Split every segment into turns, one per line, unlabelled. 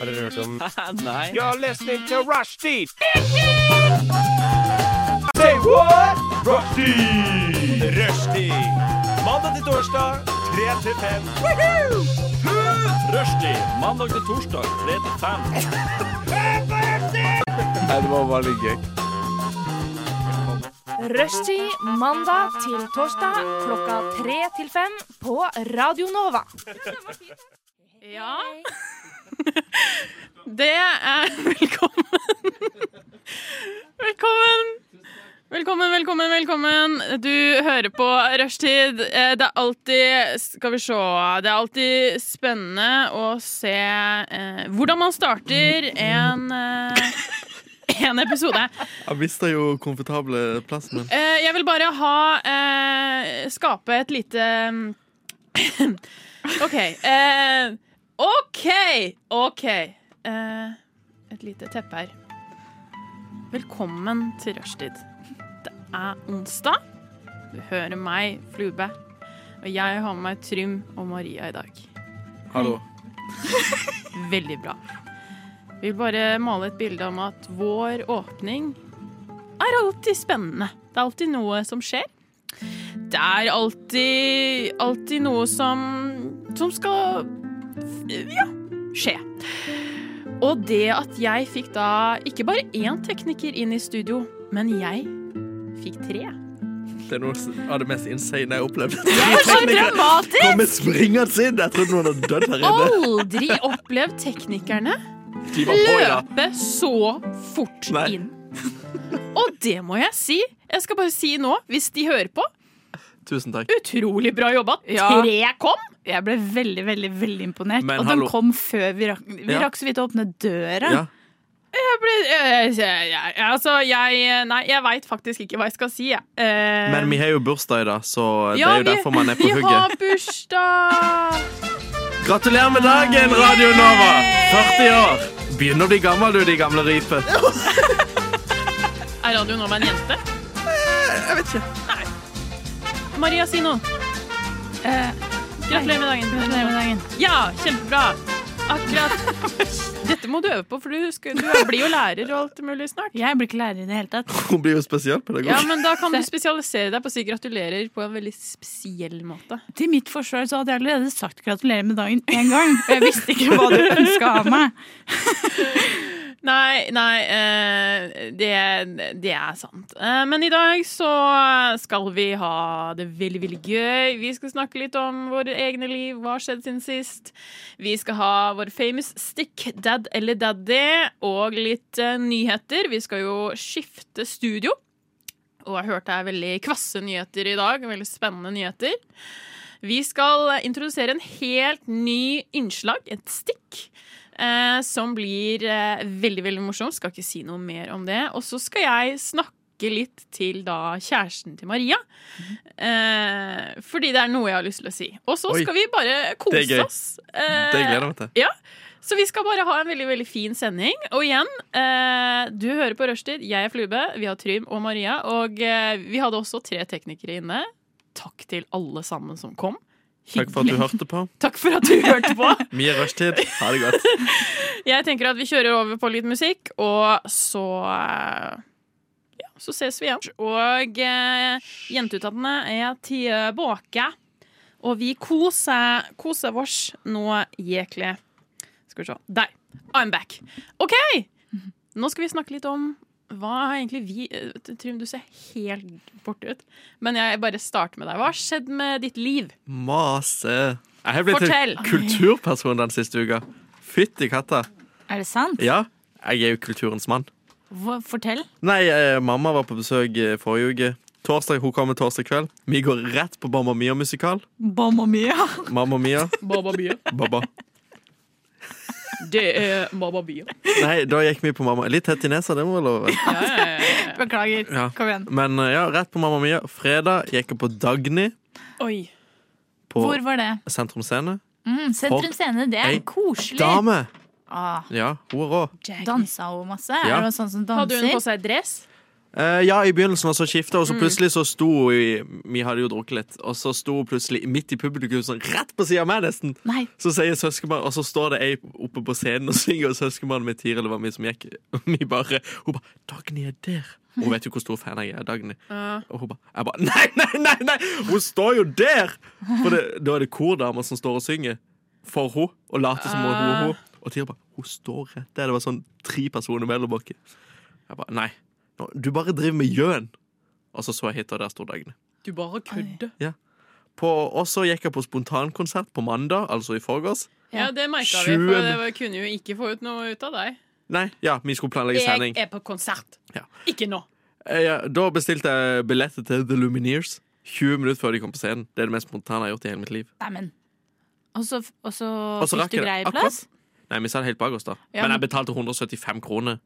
Har dere hørt om
Nei.
You're listening to Rushdie. Say what? Rushdie. Rushdie. Mandag til torsdag, 3 til 5.
Rushdie mandag til torsdag 3 til 5.
Nei, det var veldig gøy.
Rushtid mandag til torsdag klokka tre til fem på Radio Nova.
Ja. Det er Velkommen. Velkommen. Velkommen, velkommen, velkommen. Du hører på Rushtid. Eh, Det er alltid Skal vi se. Det er alltid spennende å se eh, hvordan man starter en, eh, en episode.
Jeg mista jo komfortable plassen min.
Eh, jeg vil bare ha eh, Skape et lite OK. eh, OK! OK. Eh, et lite teppe her. Velkommen til rushtid. Det er onsdag. Du hører meg, Flube. Og jeg har med meg Trym og Maria i dag.
Hallo.
Veldig bra. Vi vil bare male et bilde om at vår åpning er alltid spennende. Det er alltid noe som skjer. Det er alltid, alltid noe som, som skal ja, skje. Og det at jeg fikk da ikke bare én tekniker inn i studio, men jeg fikk tre.
Det er noe av det mest insane jeg har opplevd.
Det er så dramatisk!
Kommer springende inn! Jeg trodde noen hadde dødd her inne.
Aldri opplevd teknikerne
De var på, ja.
løpe så fort
Nei.
inn. Og det må jeg si. Jeg skal bare si nå, hvis de hører på.
Tusen takk.
Utrolig bra jobba.
Ja.
Tre kom!
Jeg ble veldig, veldig veldig imponert.
Men
og
hallo.
de kom før vi rakk Vi
Ja.
rakk så vidt å åpne døra.
Ja.
Jeg ble, eh, jeg, jeg, altså, jeg Nei, jeg veit faktisk ikke hva jeg skal si, jeg. Eh,
Men vi har jo bursdag i dag, så det
ja,
er jo
vi-
derfor man er på
Vi har
hugget.
bursdag!
Gratulerer med dagen, Radio Nova! 40 år! Begynner å bli gammel, du, de gamle rype.
Er Radio Nova en jente?
Eh, Jeg vet ikke.
Maria, si noe.
Eh,
Gratulerer med dagen.
Gratulerer med dagen.
Ja, kjempebra. Akkurat. Dette må du øve på, for du, skal, du blir jo lærer og alt mulig snart.
Jeg blir ikke lærer i det hele tatt.
Hun blir jo
Ja,
spesialpedagog.
men da kan du spesialisere deg på å si gratulerer på en veldig spesiell måte.
Til mitt forsvar så hadde jeg allerede sagt gratulerer med dagen én gang. og Jeg visste ikke hva du ønska av meg.
Nei, nei, eh, det, det er sant. Eh, Men i dag så skal vi ha det veldig, veldig gøy. Vi skal snakke litt om våre egne liv, hva har skjedd siden sist. Vi skal ha vår famous stick, dad eller daddy, og litt eh, nyheter. Vi skal jo skifte studio. Og jeg har hørt det er veldig kvasse nyheter i dag. Veldig spennende nyheter. Vi skal eh, introdusere en helt ny innslag, et stikk, eh, som blir eh, veldig, veldig morsomt. Skal ikke si noe mer om det. Og så skal jeg snakke litt til da kjæresten til Maria. Eh, fordi det er noe jeg har lyst til å si. Og så
Oi.
skal vi bare
Det er
kose
gøy.
oss. Eh,
Det gleder jeg meg til.
ja. Så vi skal bare ha en veldig veldig fin sending. Og igjen, eh, du hører på Rushtid. Jeg er Flube, vi har Trym og Maria. Og eh, vi hadde også tre teknikere inne. Takk til alle sammen som kom.
Takk for at du hørte på.
Takk for at du hørte på.
Mye rushtid. Ha det godt.
Jeg tenker at vi kjører over på litt musikk, og så eh, Ja, så ses vi igjen. Og eh, jenteutdannede er tilbake. Og vi koser, koser oss nå jæklig. Skal vi se. Der. I'm back. OK! Nå skal vi snakke litt om hva har egentlig vi eh, Trym, du ser helt borte ut. Men jeg bare starter med deg. Hva har skjedd med ditt liv?
Mase. Jeg har blitt
Fortell.
en kulturperson den siste uka. Fytti katta.
Er det sant?
Ja, jeg er jo kulturens mann.
Hva, fortell.
Nei, eh, mamma var på besøk eh, forrige uke. Torsdag, Hun kommer torsdag kveld. Vi går rett på Mamma Mia-musikal.
Mamma mia!
Mamma Mia.
Baba Bia.
Baba.
Det er Baba Bia.
Nei, da gikk vi på Mamma Litt tett i nesa, det må være lov.
Ja, ja, ja.
Beklager.
Ja.
Kom igjen.
Men eh, ja, rett på Mamma Mia. Fredag gikk jeg på Dagny
Oi.
på
Hvor var det?
Sentrum Scene.
Mm,
For
Sentrum Scene, det er
ei
koselig.
Dame!
Ah,
Ja, hun er rå.
dansa hun masse?
Ja.
Er det sånn som
Hadde hun
danser?
på seg dress?
Eh, ja, i begynnelsen var så skifta, og så plutselig så sto hun i Vi hadde jo drukket litt, og så sto hun plutselig midt i publikum, sånn rett på sida av meg, nesten.
Nei.
Så sier søskenbarn, og så står det ei oppe på scenen og synger, og søskenbarnet mitt Tiril var vi som gikk. Og vi bare Hun bare 'Dagny er der'. Hun vet jo hvor stor fan jeg er av Dagny. Og hun bare Jeg bare Nei, nei, nei! nei Hun står jo der! For det, da er det kordamer som står og synger for henne, og later som hun er hun. Og Tiril bare Hun står rett der. Det var sånn tre personer mellom oss. Jeg bare Nei. nå- Du bare driver med gjøn. Og så så jeg hit, og der sto Dagny.
Du bare kødder.
På, og så gikk jeg på spontankonsert på mandag, altså i forgårs.
Ja, det merka vi,
Tjue-
for det var- kunne jo ikke få ut noe ut av deg.
Nei, ja, vi skulle planlegge
Jeg
sending.
er på konsert.
Ja.
Ikke nå.
Eh, Ja, da bestilte jeg billetter til The Lumineers 20 minutter før de kom på scenen. Det er det mest spontane jeg har gjort i hele mitt liv.
Neimen. Og så og så
Og så rakk
fikk
jeg det.
du grei
Akkurat.
plass?
Nei, vi satt helt bak oss da.
Ja,
men
men-
jeg betalte 175 kroner.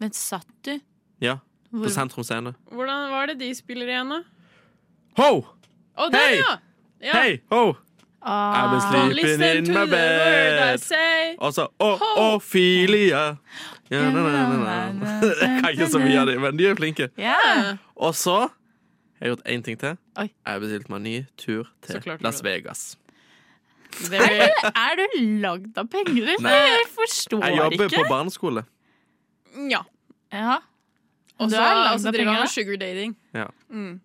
Men satt du?
Ja, på
Hvor-
Sentrum Scene.
Hvordan var det de spiller igjen, da?
Ho!
Å, der,
Hei!
ja! ja.
Hei! Ho!
Ah,
I've been sleeping
Listen
in
to
my
the word I
bed.
say.
Og så Altså, Å- Ophelia. Ja, na, na, na, na. Jeg kan ikke så mye av det, men de er flinke.
Ja.
Og så jeg har jeg gjort én ting til.
Oi.
Jeg har bestilt meg en ny tur
Så klart
til
du
Las
har.
Vegas.
Det vil-
Er du lagd av penger, eller?
Nei.
Jeg forstår
Jeg jobber
ikke.
på barneskole.
Ja.
Ja.
Og
Du
så
er langt
og så
opp i
driver han
gangen.
med sugardating.
Ja.
Mm.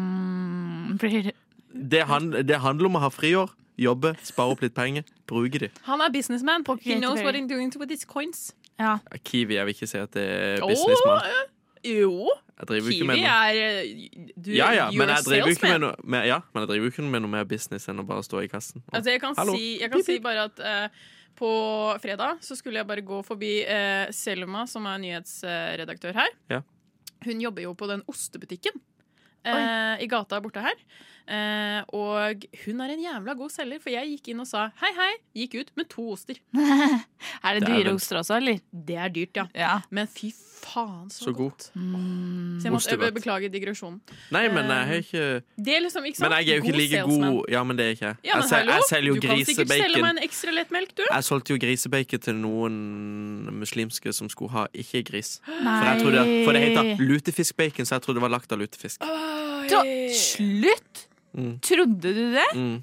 Mm, blir
Det, han, det handler om å ha friår, jobbe, spare opp litt penger, bruke de.
Han er businessman. He
Helt
knows
veldig.
what he's doing with his coins.
Ja.
Ja, Kiwi, jeg vil ikke si at det er
Åh,
businessmann.
eh, jo.
Jeg driver jo ikke
Kiwi
med noe.
er eh, du,
Ja, ja,
you're
men
a
jeg driver jo ikke med
salesman.
noe med, ja, men jeg driver jo ikke med noe mer business enn å bare stå i kassen. Og,
Altså, jeg kan,
Hallo.
si, jeg kan si bare at eh, på fredag så skulle jeg bare gå forbi eh, Selma, som er nyhetsredaktør her.
Ja.
Hun jobber jo på den ostebutikken eh, i gata borte her. Eh, og hun er en jævla god selger, for jeg gikk inn og sa hei, hei. Gikk ut med to oster.
Er
Det er
det dyre
vel-
oster også, eller?
Det er dyrt, ja.
Ja.
Men fy faen, så,
Så god.
godt. Mm. Så jeg måtte
Ostevett.
jeg beklager digresjonen.
nei, men jeg har ikke
Det er liksom, ikke sant?
Men jeg er jo ikke
God
like
salesman.
god Ja, men det er ikke jeg.
Ja, men
Jeg sel-
hallo,
Jeg selger jo
du kan sikkert selge meg
grisebacon.
en ekstra lett melk, du.
Jeg solgte jo grisebacon til noen muslimske som skulle ha ikke gris. For,
Nei.
jeg trodde, for det heter lutefiskbacon, så jeg trodde det var lagt av lutefisk.
Tro Slutt!
Mm.
Trodde du det?
Mm.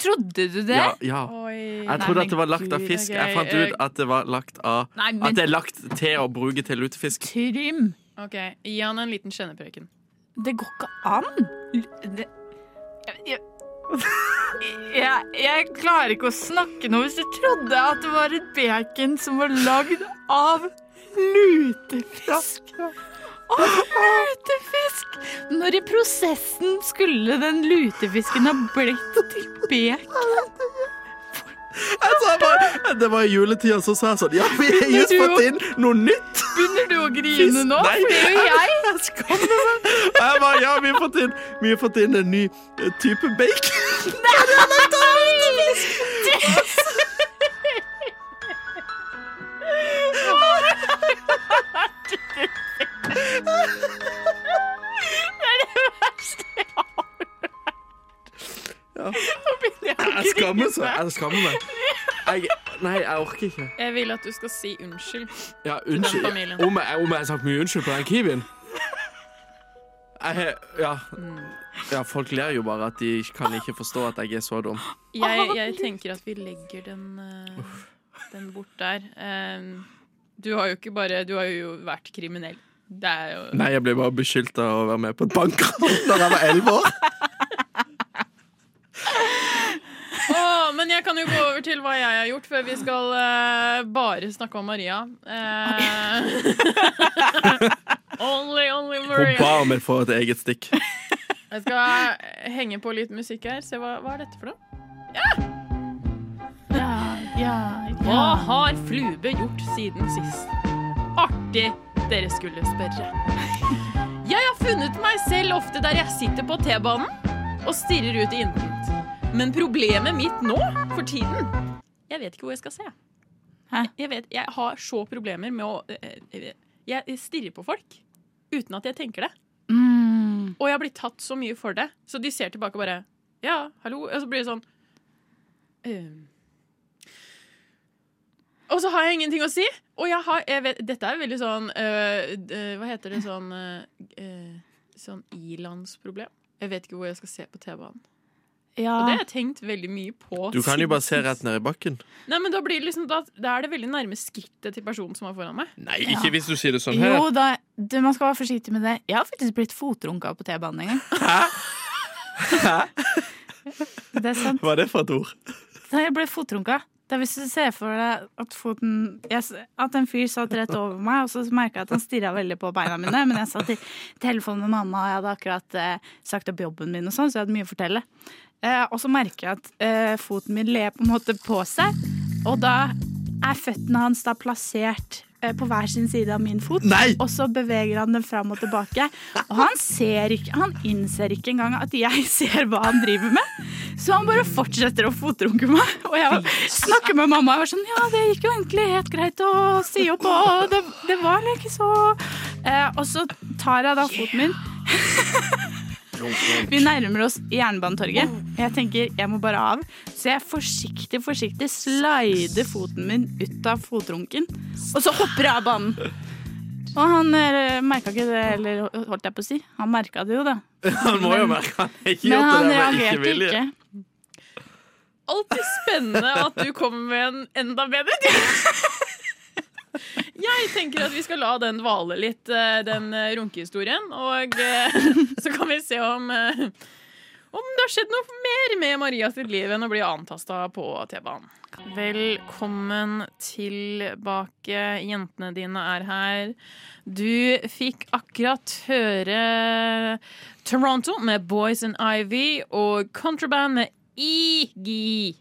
Trodde du det?
Ja, ja. Jeg trodde at det var lagt av fisk. Jeg fant ut at det var lagt av
Nei, men-
At det er lagt til å bruke til lutefisk.
Trym.
Ok, Gi han en liten kjennepreken.
Det går ikke an! L- Det jeg, jeg, jeg klarer ikke å snakke nå hvis jeg trodde at det var et bacon som var lagd av lutefisk. Av lutefisk! Når i prosessen skulle den lutefisken ha blitt til bacon?
Jeg sa bare, det var i juletida, så sa jeg sånn Ja, vi har just fått inn noe nytt!
Begynner du å grine nå?
Nei.
For det gjør jeg.
Jeg skammer meg. Jeg bare, ja, vi har fått inn, vi har fått inn en ny eh, type bacon. Jeg skammer, så, jeg skammer meg. Jeg, nei, jeg orker ikke.
Jeg vil at du skal si unnskyld.
Ja, unnskyld. Om
Familien.
jeg, om jeg har sagt mye unnskyld på den kiwien? Jeg har ja. ja, folk ler jo bare at de kan ikke forstå at jeg er så dum.
Jeg, jeg tenker at vi legger den, eh, den bort der. Eh, du har jo ikke bare Du har jo vært kriminell. Det er jo
Nei, jeg ble bare beskyldt av å være med på et bankran da jeg var elleve år.
Åh, Men jeg kan jo gå over til hva jeg har gjort, før vi skal eh, bare snakke om Maria. Eh, only, only
Hun
Maria.
ba om å få et eget stikk.
Jeg skal henge på litt musikk her. Se, hva, hva er dette for noe?
Ja, ja,
Hva har Flube gjort siden sist? Artig dere skulle spørre. Jeg har funnet meg selv ofte der jeg sitter på T-banen og stirrer ut i intet. Men problemet mitt nå, for tiden Jeg vet ikke hvor jeg skal se.
Hæ?
Jeg, vet, jeg har så problemer med å eh, Jeg stirrer på folk uten at jeg tenker det.
Mm.
Og jeg blir tatt så mye for det. Så de ser tilbake og bare Ja, hallo. Og så blir det sånn ehm, Og så har jeg ingenting å si. Og jeg har jeg vet, Dette er veldig sånn øh, øh, Hva heter det? Sånn øh, øh, Sånn ilandsproblem. Jeg vet ikke hvor jeg skal se på TV-en.
Ja.
Og det har jeg tenkt veldig mye på.
Du kan jo
siden
bare se
sist.
rett ned i bakken.
Nei, men da, blir det liksom, da, da er det veldig nærme skrittet til personen som er foran meg.
Nei, ikke hvis du sier det sånn her.
Jo da, du, man skal være forsiktig med det. Jeg har faktisk blitt fotrunka på T-banen en gang. Det er sant.
Hva er det for et ord?
Da jeg ble fotrunka. Det er hvis du ser for deg at foten jeg, s- At en fyr satt rett over meg, og så merka jeg at han stirra veldig på beina mine. Men jeg satt i telefonen med mamma, og jeg hadde akkurat eh, sagt opp jobben min, og sånn, så jeg hadde mye å fortelle. Eh, og så merker jeg at eh, foten min ler på en måte på seg, og da er føttene hans da plassert eh, på hver sin side av min fot.
Nei!
Og så beveger han den fram og tilbake. Og han ser ikke, han innser ikke engang at jeg ser hva han driver med. Så han bare fortsetter å fotrunke meg. Og jeg snakker med mamma og jeg var sånn Ja, det gikk jo egentlig helt greit å si opp, og det, det var vel ikke så eh, Og så tar jeg da foten min. Vi nærmer oss Jernbanetorget. Jeg tenker jeg må bare av. Så jeg forsiktig, forsiktig slider foten min ut av fotrunken. Og så hopper jeg av banen. Og han eh, merka ikke det, eller holdt jeg på å si. Han merka det jo, da.
Han må jo merke han har ikke
Men
gjort
han
det der med ikke
reagerte
vilje.
ikke.
Alltid spennende at du kommer med en enda bedre ting. Jeg tenker at vi skal la den hvale litt, eh, den eh, runkehistorien. Og eh, så kan vi se om, eh, om det har skjedd noe mer med Maria sitt liv enn å bli antasta på T-banen. Velkommen tilbake. Jentene dine er her. Du fikk akkurat høre Toronto med Boys and Ivy og Contraband med Iggy.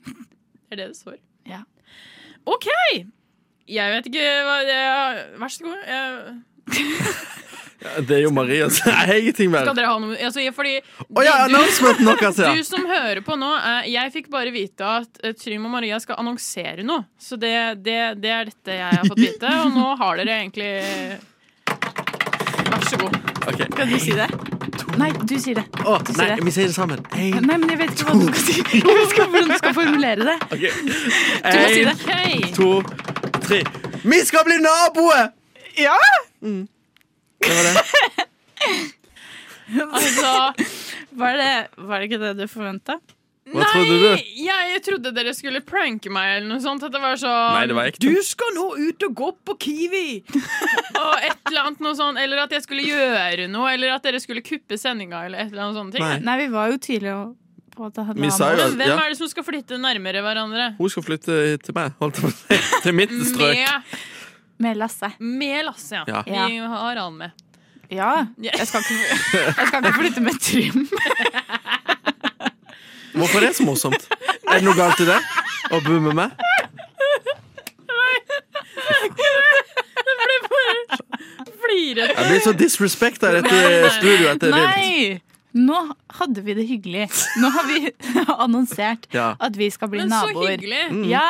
Er det det står?
Ja.
OK! Jeg vet ikke hva det er. Vær så god. Jeg,
Det er jo Marias. Jeg har ingenting mer.
skal dere ha noe altså, jeg- Fordi
Å ja,
du,
announcementen deres, ja!
du som hører på nå, eh, jeg fikk bare vite at eh, Trym og Maria skal annonsere noe. Så det, det, det er dette jeg har fått vite, og nå har dere egentlig Vær så god.
Ok.
Kan du si det? Nei, du sier det.
Å,
Du
nei,
sier det.
vi sier det sammen. Én,
Nei, men jeg vet ikke hva du skal si. Jeg vet ikke hvordan du skal formulere det.
Ok.
Du må si
Én,
det. Hei.
to, tre. Vi skal bli naboer!
Ja! Mm.
Det var det.
Altså
Var det, var det ikke det du forventa?
Hva trodde du?
Jeg trodde dere skulle pranke meg eller noe sånt. At det var sånn
Nei, det var ekte.
Du skal nå ut og gå på Kiwi! og et eller annet noe sånt. Eller at jeg skulle gjøre noe. Eller at dere skulle kuppe sendinga, eller et eller annet sånne ting.
Nei.
Nei, vi var jo tidligere på at det hadde
Vi sa jo-
avholdt.
Men hvem
Ja.
er det som skal flytte nærmere hverandre?
Hun skal flytte til meg. Holdt jeg på å si. Til mitt strøk.
Med,
Med Lasse.
med Lasse, ja.
Ja.
Vi har han med.
Ja. Jeg skal ikke, jeg skal ikke flytte med Trym.
Hvorfor er det så morsomt? Er det noe galt i det? Å bo med meg?
Flirer.
Jeg blir så disrespekta i dette studioet etter vilt.
Nei! Nå hadde vi det hyggelig. Nå har vi annonsert
Ja.
at vi skal bli
Men så
naboer.
hyggelig.
Mm.
Ja.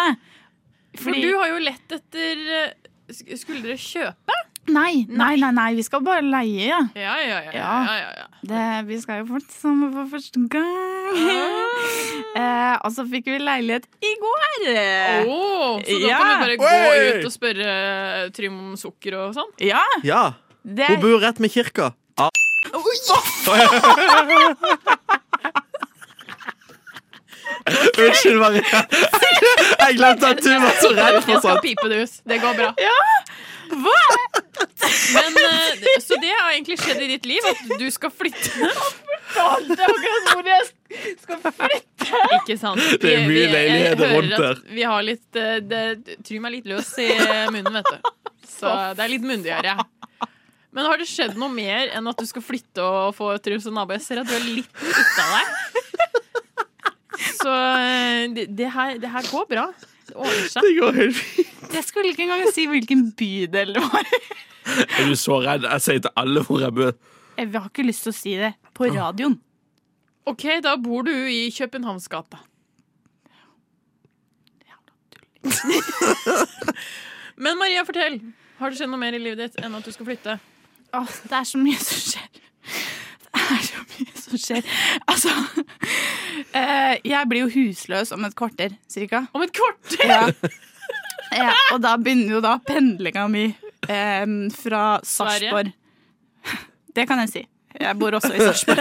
For
Fordi,
du har jo lett etter eh, sk- Skulle dere kjøpe?
nei, nei, nei, nei, vi skal bare leie, ja.
Ja, ja, ja. ja,
Ja.
ja, ja.
Det, vi skal jo fort sammen for første gang.
Ah.
Eh, og så fikk vi leilighet i går.
Åh, så da
Ja.
kan du bare
Oi!
gå ut og spørre eh, Trym om sukker og sånn?
Ja,
ja.
det
Hun bor rett med kirka. Ah. Unnskyld, Maria. Jeg glemte at du var så redd
Jeg
for
skal
sånt.
pipe det ut. Det går bra.
Hva?
Men, eh, så det har egentlig skjedd i ditt liv, at du skal flytte.
Det er akkurat hvor jeg skal flytte.
Ikke sant?
Det er
Vi- vi-
mye leiligheter
jeg hører
rundt
at
der.
Vi har litt eh, det, Trym er litt løs i eh, munnen, vet du. Så det er litt myndigere. Men har det skjedd noe mer enn at du skal flytte og få Trym som nabo? Jeg ser at du er litt ute av deg. Så eh, det, det, her, det her går bra. Det ordner seg.
Det går helt fint.
Jeg skulle ikke engang si hvilken bydel det var.
Er du så redd? Jeg sier til alle hvor jeg bor.
Jeg Eh, har ikke lyst til å si det på radioen.
Ok, da bor du i Københavnsgata. Men Maria, fortell. Har det skjedd noe mer i livet ditt enn at du skal flytte?
Åh, det er så mye som skjer. Det er så mye som skjer. Altså eh, Jeg blir jo husløs om et kvarter, cirka.
Om et kvarter!
Ja. Ja, og da begynner jo da pendlinga mi eh, fra
Sverige?
Sarpsborg. Det kan jeg si. Jeg bor også i Sarpsborg.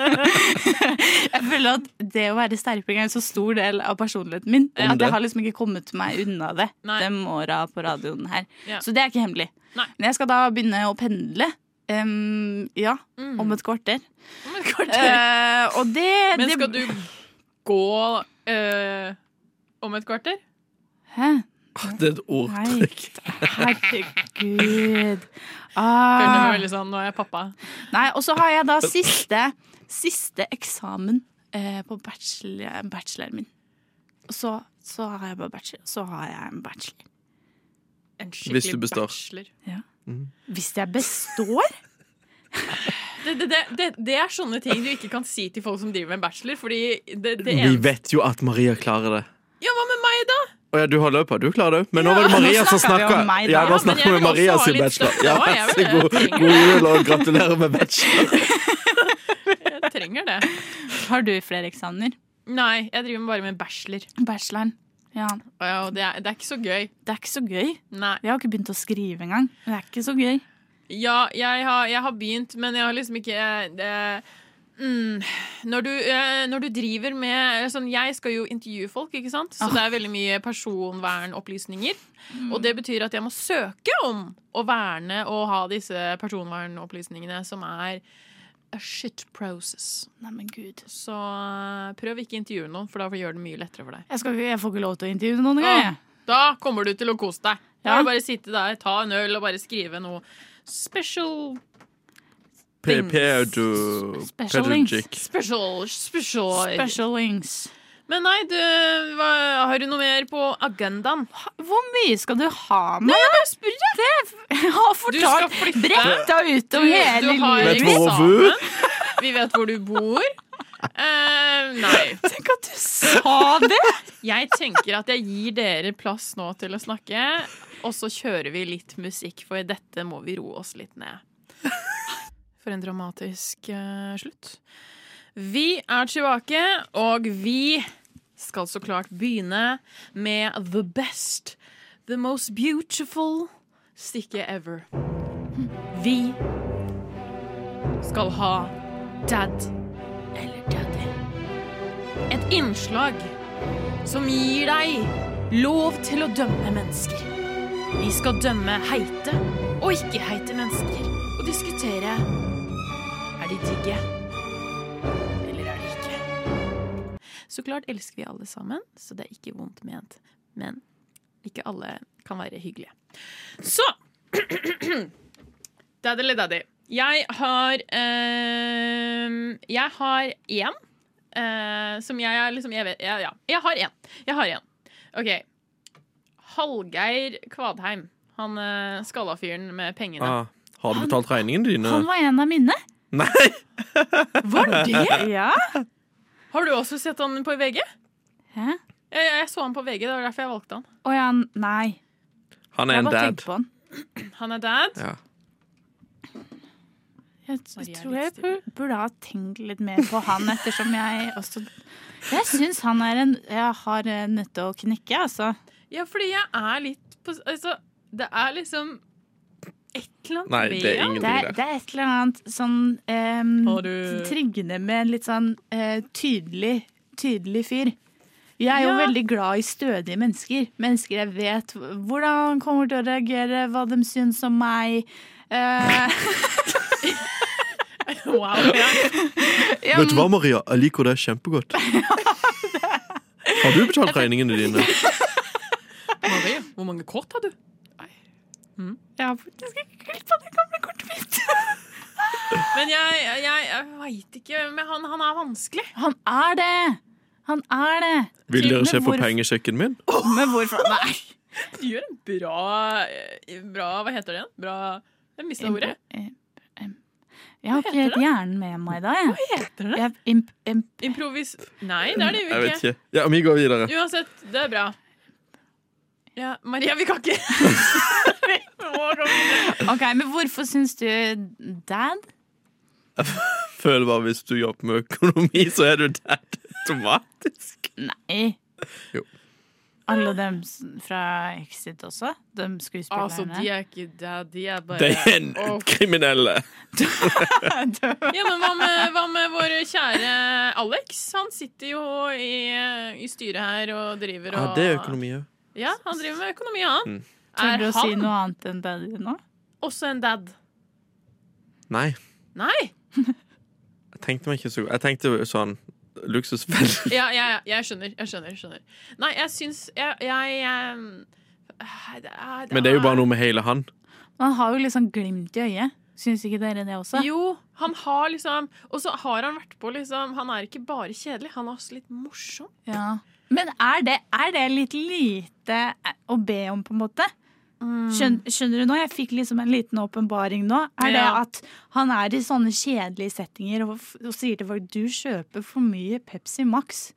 jeg føler at det å være sterping er en så stor del av personligheten min.
Om
At
det.
jeg har liksom ikke kommet meg unna det
Nei.
de åra på radioen her.
Ja.
Så det er ikke hemmelig.
Nei.
Men jeg skal da begynne å pendle. em, ja,
Mm.
om et kvarter.
Men kort-
Eh, og det
Men
det-
skal du gå eh, om et kvarter?
Hæ?
Det er et ordtrykk.
Føler
Herregud. Ah.
meg veldig sånn, nå er jeg pappa.
Nei, og så har jeg da siste, siste eksamen eh, på bachelor, bacheloren min. Og så, så har jeg bare bachelor, så har jeg en bachelor.
En
Hvis du
skikkelig
består.
bachelor.
Hvis jeg består?
Det, det, det, det, det er sånne ting du ikke kan si til folk som driver med en bachelor. Fordi det, det
Vi
eneste
vet jo at Maria klarer det.
Ja, hva med meg, da?
Å ja, du har løpet, du klarer det. Men nå var det
Ja,
Maria
nå
som
snakker vi
snakka.
om meg, da.
Ja,
Ja,
nå
men jeg
snakker vi
vil
om Maria
også ha
sin
litt
bachelor.
sånn-
støtte.
Ja,
Ja, jeg
vær så
vil det.
god, god jul og gratulerer med bachelor.
Jeg trenger det.
Har du flere eksamener?
Nei, jeg driver bare med en bachelor.
Bacheloren. Ja.
Og ja, og det, er, det er ikke så gøy.
Det er ikke så gøy.
Nei.
Jeg har ikke begynt å skrive engang. Det er ikke så gøy.
Ja, jeg har, jeg har begynt, men jeg har liksom ikke eh, det, mm, når, du, eh, når du driver med eh, sånn, Jeg skal jo intervjue folk, ikke sant? Så
Ah. Mm.
det er veldig mye personvernopplysninger. Og det betyr at jeg må søke om å verne og ha disse personvernopplysningene, som er a shit process.
Nei, men Gud.
Så eh, prøv ikke å intervjue noen, for da gjør det mye lettere for deg.
Jeg, skal, ikke- jeg får ikke lov til å intervjue noen
Åh,
engang. jeg.
Da kommer du til å kose deg. Da
Ja.
er det bare å sitte der, ta en øl og bare skrive noe special
Pedo...
Special
Pedagogic.
Special, special.
Special wings.
Men nei, du, hva, har du noe mer på agendaen?
Hvor mye skal du ha med? Nei, jeg bare spør Det jeg
Du
har
skal
fortalt
flytte.
bretta
Du,
utover hele
du har
livet
Vet du
mitt.
hvor hun bor?
Vi vet hvor du bor. Eh, nei.
Tenk at du sa det!
Jeg tenker at jeg gir dere plass nå til å snakke, og så kjører vi litt musikk, for dette må vi roe oss litt ned. For en dramatisk eh, slutt. Vi er tilbake, og vi skal så klart begynne med the best, the most beautiful stikket ever. Vi skal ha dad eller daddy. Et innslag som gir deg lov til å dømme mennesker. Vi skal dømme heite og ikke-heite mennesker og diskutere er de digge eller er de ikke. Så klart elsker vi alle sammen, så det er ikke vondt ment. Men ikke alle kan være hyggelige. Så Daddy eller daddy. Jeg har eh, Jeg har én eh, som jeg er liksom jeg, vet, ja, ja. jeg har én. Jeg har én. OK. Hallgeir Kvadheim. Han eh, skalla fyren med pengene.
Ah, har du betalt regningene dine?
Han var en av mine.
Nei!
Var det?
Ja.
Har du også sett han på VG?
Hæ?
Jeg, jeg så han på VG, det var derfor jeg valgte han.
Å ja, nei.
Han er
Jeg
en
bare
dad.
tenkte på han.
Han er dad.
Ja.
Jeg
Maria er
tror jeg
litt stille.
bur- burde ha tenkt litt mer på han, ettersom jeg også Jeg syns han er en Jeg har eh, nødt til å knekke, altså.
Ja, fordi jeg er litt på Altså, det er liksom et eller annet
Nei, det er
Det er,
ingenting der.
det er et eller annet sånn
Har
eh,
du-
triggende med en litt sånn eh, tydelig, tydelig fyr. Jeg er jo
Ja.
veldig glad i stødige mennesker. Mennesker jeg vet hvordan kommer til å reagere, hva de syns om meg. Eh,
Wow, ja.
ja,
Vet du hva, Maria? Jeg liker det kjempegodt. Har du betalt regningene dine?
Marie, hvor mange kort har du?
Jeg har faktisk ikke kult på det gamle kortet mitt.
Men jeg, jeg, jeg veit ikke. Men han, han er vanskelig.
Han er det! Han er det!
Vil dere
Men
se på
hvorfor-
pengesjekken min?
Men hvorfor Nei!
Du gjør en bra eh, Bra Hva heter det igjen? Bra Jeg mista ordet.
Jeg har ikke
heter
helt hjernen med meg i dag. jeg.
Heter
Jeg, imp, imp,
Improvis... Nei, det er det
Jeg
jo
vet
ikke.
ikke. Ja, Vi går videre.
Uansett, det er bra. Ja, Maria, vi kan ikke
ok, Men hvorfor syns du dad
Føler bare hvis du jobber med økonomi, så er du dad automatisk.
Nei.
Jo.
alle dem s- fra Exit også? De skuespillerne?
Altså, de er ikke der, de er bare
Det er en
Åh.
kriminelle.
Ja, men hva med, hva med vår kjære Alex? Han sitter jo i, i styret her og driver
Ja,
og
det er økonomi òg.
Ja, han driver med økonomi, han.
Mm.
Tør
Er
du å si
han
noe annet enn daddy nå?
også en dad?
Nei,
Nei!
jeg tenkte meg ikke så Jeg tenkte jo sånn luksusfelle.
Ja, ja, ja, jeg skjønner. Jeg skjønner, skjønner. Nei, jeg syns Jeg, jeg, em, eh, det er-
Men det er jo bare noe med hele han.
Han har jo litt sånn glimt i øyet. Syns ikke dere det også?
Jo, han har liksom Og så har han vært på, liksom Han er ikke bare kjedelig, han er også litt morsom.
Ja. Men er det, er det litt lite å be om, på en måte? Skjøn, skjønner du nå? Jeg fikk liksom en liten åpenbaring nå. Er det
Ja.
at han er i sånne kjedelige settinger og, f- og sier til folk du kjøper for mye Pepsi Max.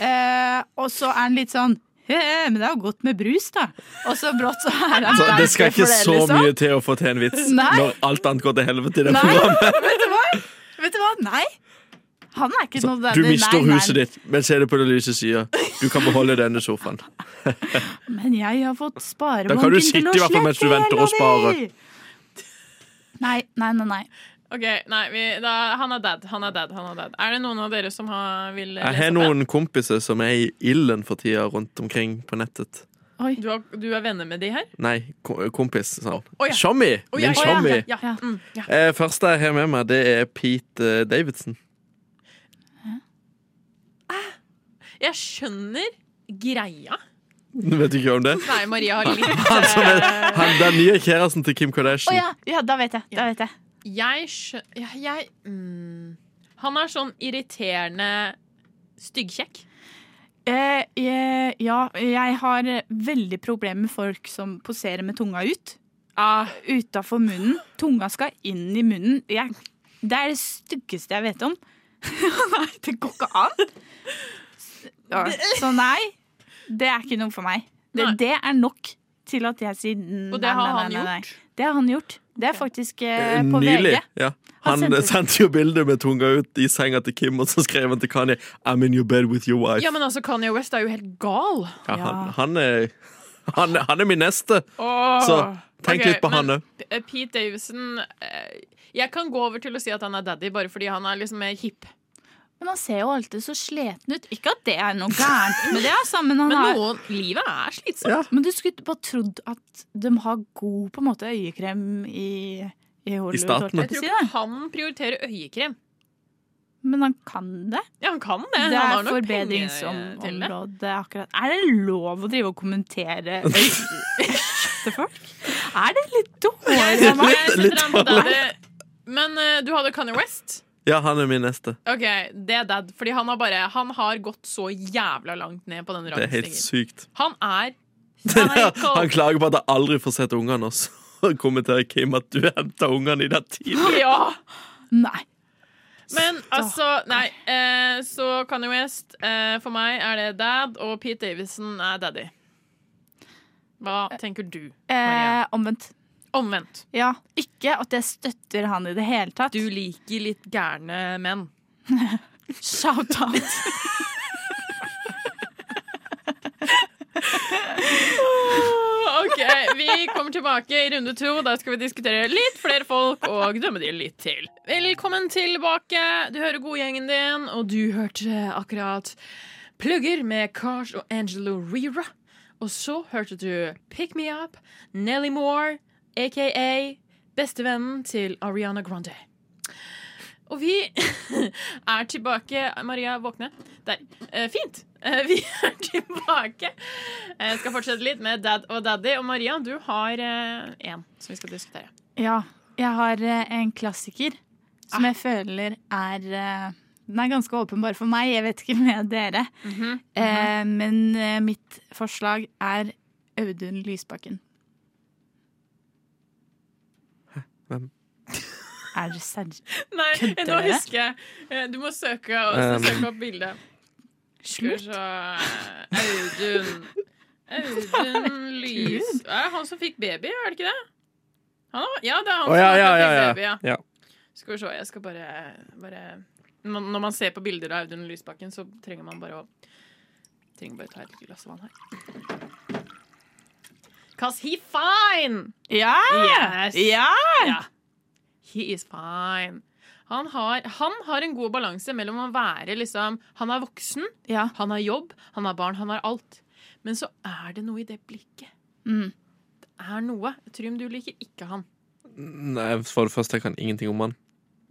Eh, og så er han litt sånn «He, he, men det er jo godt med brus, da. Og så brått så er han
Så det skal
for
ikke
det,
så
liksom.
mye til å få til en vits
Nei.
når alt annet går til helvete i det programmet.
Nei, vet du hva? Vet du hva? Nei. Han er ikke noe
Du
nei,
mister
nei.
huset ditt, men se det på den lyse sida. Du kan beholde denne sofaen.
Men jeg har fått sparebonken
Da kan du sitte i hvert fall mens du venter og spare.
Nei, nei, nei. nei.
Ok, nei, vi, da, Han er dad. Han er dad. han Er dad Er det noen av dere som har, vil lese
Jeg har
opp en?
noen kompiser som er i ilden for tida rundt omkring på nettet.
Du, har, du er venner med de her?
Nei, ko- kompis. Sånn.
Å, ja.
Shommy!
Å,
Min Shommy.
ja, ja,
Ja.
mm, ja.
Eh, Første jeg har med meg, det er Pete eh, Davidson.
Jeg skjønner greia.
Vet du ikke om det?
Nei, Maria har litt sånn-
Han som er han, den nye kjæresten til Kim
Å
Kardashian.
ja, ja, da vet jeg. Da vet jeg.
Jeg skjønner jeg, jeg, mm, Han er sånn irriterende styggkjekk.
Eh, eh, ja, jeg har veldig problemer med folk som poserer med tunga ut. Ah. Utafor munnen. Tunga skal inn i munnen. Jeg, det er det styggeste jeg vet om. nei, det går ikke an! Ja, så nei, det er ikke noe for meg. Det,
Nei.
det er nok til at jeg sier n-
Og det
nei,
har
nei,
han
nei, nei, nei. Det har han gjort. Det er faktisk eh,
Eh,
på
Nylig.
VG.
Ja.
Han
Han
sendte-
eh, sendte jo bilde med tunga ut i senga til Kim, og så skrev han til Kanye 'I'm in your bed with your wife'.
Ja, men altså, Kanye West er jo helt gal.
Ja,
Ja.
han, han, er, han, han er min neste, så tenk
Ok,
litt på
men
han òg.
P- eh, Pete Davidson eh, Jeg kan gå over til å si at han er daddy, bare fordi han er liksom mer hipp.
Men han ser jo alltid så sliten ut. Ikke at det er noe gærent med det, altså, men han
Men
har
noen, livet er slitsomt.
Ja.
Men du skulle bare trodd at de har god på en måte, øyekrem i, i Hollywood.
I staten.
holdt
Jeg tror
jeg på å si,
ikke
da.
han prioriterer øyekrem.
Men han kan det.
Ja, han kan det.
Det
han
er
har nok penger eh, til det.
forbedringsområdet akkurat. Er det lov å drive og kommentere øyet til folk? Er det litt dårlig av meg?
Jeg setter
litt
han på daddy. Men eh, du hadde Kanye West.
Ja, han er min neste.
Ok, Det er dad. Fordi han har bare Han har gått så jævla langt ned på den
Det er helt
rangstigen.
sykt.
Han er
Han
psycho.
klager på at jeg aldri får sett ungene, og så kommenterer Kim at du henta ungene i den tiden.
Ja.
Nei.
Men altså, nei. eh, så Kanye West, eh, for meg er det dad, og Pete Davison er daddy. Hva tenker du?
Eh,
Maria.
omvendt.
Omvendt.
Ja. Ikke at jeg støtter han i det hele tatt.
Du liker litt gærne menn.
Shout out!
OK, vi kommer tilbake i runde to. Da skal vi diskutere litt flere folk og dømme de litt til. Velkommen tilbake. Du hører godgjengen din, og du hørte akkurat Plugger med Cars og Angelo Rira. Og så hørte du Pick Me Up, Nelly Moore, aka bestevennen til Ariana Grande. Og vi er tilbake Maria, våkne. Der. Eh, fint. Eh, vi er tilbake. Jeg skal fortsette litt med Dad og Daddy. Og Maria, du har én som vi skal diskutere.
Ja, jeg har eh, en klassiker som
Ah.
jeg føler er eh, Den er ganske åpenbar for meg, jeg vet ikke med dere.
Mhm,
Eh, men eh, mitt forslag er Audun Lysbakken.
Hvem?
Er det serr?
Nei,
Kødder
nå
dere?
husker jeg. Eh, Du må søke, og så
Um.
søke opp bildet. Skal vi
Slutt?
se Audun. Audun Lys...
Gud.
Er det han som fikk baby, er det ikke det? Han, har- ja, det er han
Å ja,
som
ja,
fikk
ja,
baby. Ja.
ja. ja.
Skal vi se, jeg skal bare, bare Når man- Når man ser på bilder av Audun Lysbakken, så trenger man bare å Trenger bare ta et lite glass vann her. Cause he fine!
Ja!
Yes.
ja!
Ja. He is fine. Han har, han har en god balanse mellom å være liksom Han er voksen,
Ja.
han har jobb, han har barn, han har alt. Men så er det noe i det blikket.
Mm.
Det er noe. Trym, du liker ikke han.
Nei, for det første, jeg kan ingenting om han.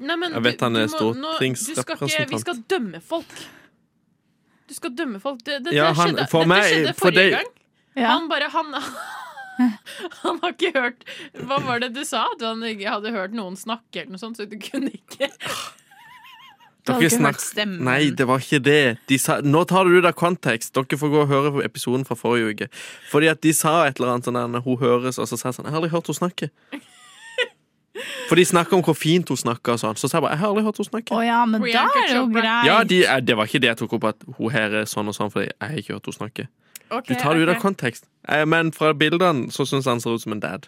Nei, men
Jeg vet han er
må- du skal ikke,
stortingsrepresentant.
Vi skal dømme folk. Du skal dømme folk. Det, det,
Ja,
det
han-
skjedde,
for
dette
meg-
skjedde
for
forrige
det-
gang. Han bare han, han har ikke hørt Hva var det du sa? At han ikke hadde hørt noen snakke eller noe sånt, så du kunne ikke
Du hadde
Dere
ikke hørt
snak-
stemmen.
Nei, det var ikke det. De sa, nå tar du det av kontekst. Dere får gå og høre på episoden fra forrige uke. Fordi at de sa et eller annet sånn der, Hun høres, og så sa jeg sånn Jeg har aldri hørt henne snakke. For de snakka om hvor fint hun snakka og sånn. Så sa jeg bare Jeg har aldri hørt henne snakke.
Å ja, men da
Priyanka
er det jo
Chopra.
greit.
Ja, de, eh, Det var ikke det jeg tok opp, at hun her er sånn og sånn, fordi jeg har ikke hørt henne snakke. Du tar det ut av kontekst. Eh, Men fra bildene så syns han ser ut som en dad.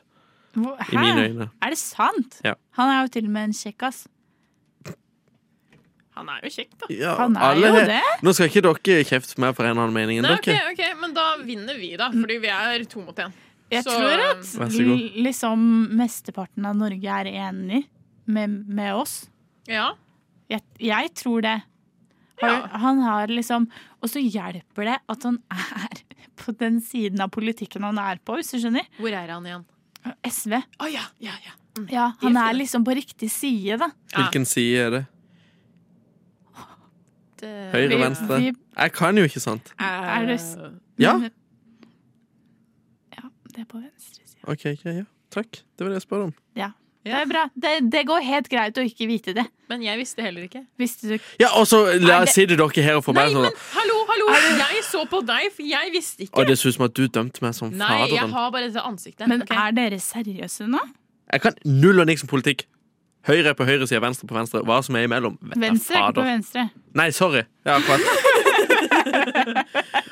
Hvor-
I mine
Hæ?
øyne.
Er det sant?
Ja.
Han er jo til og med en kjekkas.
Han er jo kjekk, da.
Ja,
Han er
alle
jo
her-
det.
Nå skal ikke dere kjefte mer for en eller annen mening enn
Nei, ok,
dere.
ok, Men da vinner vi, da. Fordi vi er to mot én.
Jeg
Så- um,
tror
Vær
at
så god.
l- liksom mesteparten av Norge er enig med, med oss.
Ja.
Jeg, jeg tror det. Har,
Ja.
Han har liksom Og så hjelper det at han er på den siden av politikken han er på, hvis du skjønner.
Hvor er han igjen?
SV.
Å ja, ja, ja.
Ja, han
de er
er
fine.
liksom på riktig side, da.
Hvilken side er det?
Det- Eh,
Høyre,
Vi-
venstre?
vi-
Jeg kan jo ikke sant.
Er
det
s-
Ja?
Mhm. Ja, det er på venstre side.
Ok, ok, ja. Takk. Det var det jeg spør om.
Det er bra. Det, det går helt greit å ikke vite det.
Men jeg visste heller ikke.
Visste du
Ja, og så la-
Nei, det-
sitter dere her og får
Nei,
meg sånn
men hallo, hallo! Jeg så på deg, for jeg visste ikke.
Og det ser ut som at du dømte meg som
Nei, jeg
faderen.
har bare dette ansiktet.
Men
ok?
er dere seriøse nå?
Jeg kan null og niks om politikk. Høyre på høyre side, venstre på venstre. Hva som er imellom. Vet da
Venstre er ikke på
fader.
venstre.
Nei, sorry. Ja, akkurat.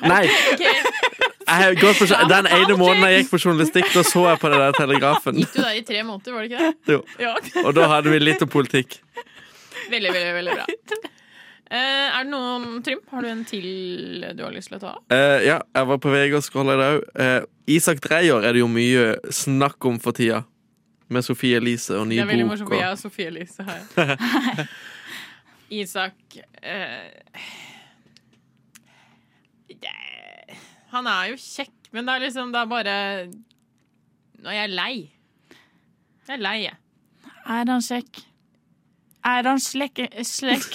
Nei. Jeg har gått på, den ene måneden jeg gikk på journalistikk, da så jeg på den der telegrafen.
Du der i tre måneder, var det ikke det?
Jo.
Ja.
Og da hadde vi litt om politikk.
Veldig, veldig, veldig bra. Eh, er det noen, Trym, har du en til du har lyst til å ta?
Eh, ja, jeg var på VG og scrolla i dag. Eh, Isak Dreyer er det jo mye snakk om for tida. Med Sofie Elise og ny
Det er veldig
bok.
morsomt,
og-
for jeg og Sofie Elise her. Isak eh, det- Han er jo kjekk, men det er liksom Det er bare Nå er jeg lei. Jeg er lei, jeg.
Er han kjekk? Er han slekk... eh, slekk?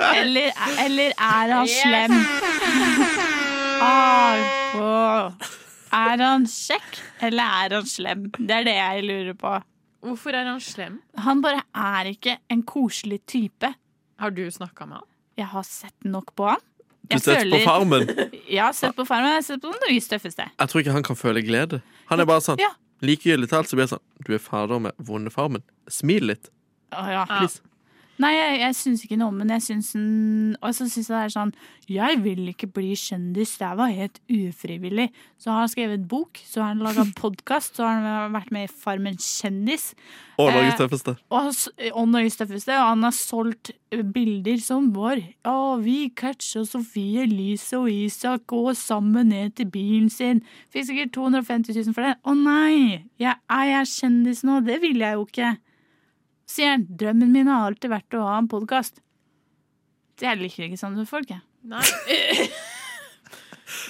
eller, eller er han
Yes.
slem? Ah, åh. Er han kjekk, eller er han slem? Det er det jeg lurer på.
Hvorfor er han slem?
Han bare er ikke en koselig type.
Har du snakka med han?
Jeg har sett nok på han.
Du setter på Farmen.
Jeg har sett på Farmen. Jeg har sett på det nye tøffeste.
Jeg tror ikke han kan føle glede. Han er bare sånn
Ja.
Likegyldig talt så blir jeg sånn Du er fader med vonde farmen. Smil litt.
Å, ja.
Ja.
Please.
Nei, jeg, jeg syns ikke noe om den. Jeg syns den Og så syns jeg det er sånn Jeg vil ikke bli kjendis. Det her var helt ufrivillig. Så har han skrevet bok, så har han laga podkast, så har han vært med i Farmen kjendis.
Å, Norges
Eh,
tøffeste.
Og, han s- og Norges tøffeste. Og han har solgt eh, bilder som vår. Å, vi catcha Sofie Elise og Isak gå sammen ned til bilen sin. Fikk sikkert 250 000 for det. Å nei! Jeg, er jeg kjendis nå? Det vil jeg jo ikke. Sier han. Drømmen min har alltid vært å ha en podkast. Jeg liker ikke sånne folk, jeg.
Nei.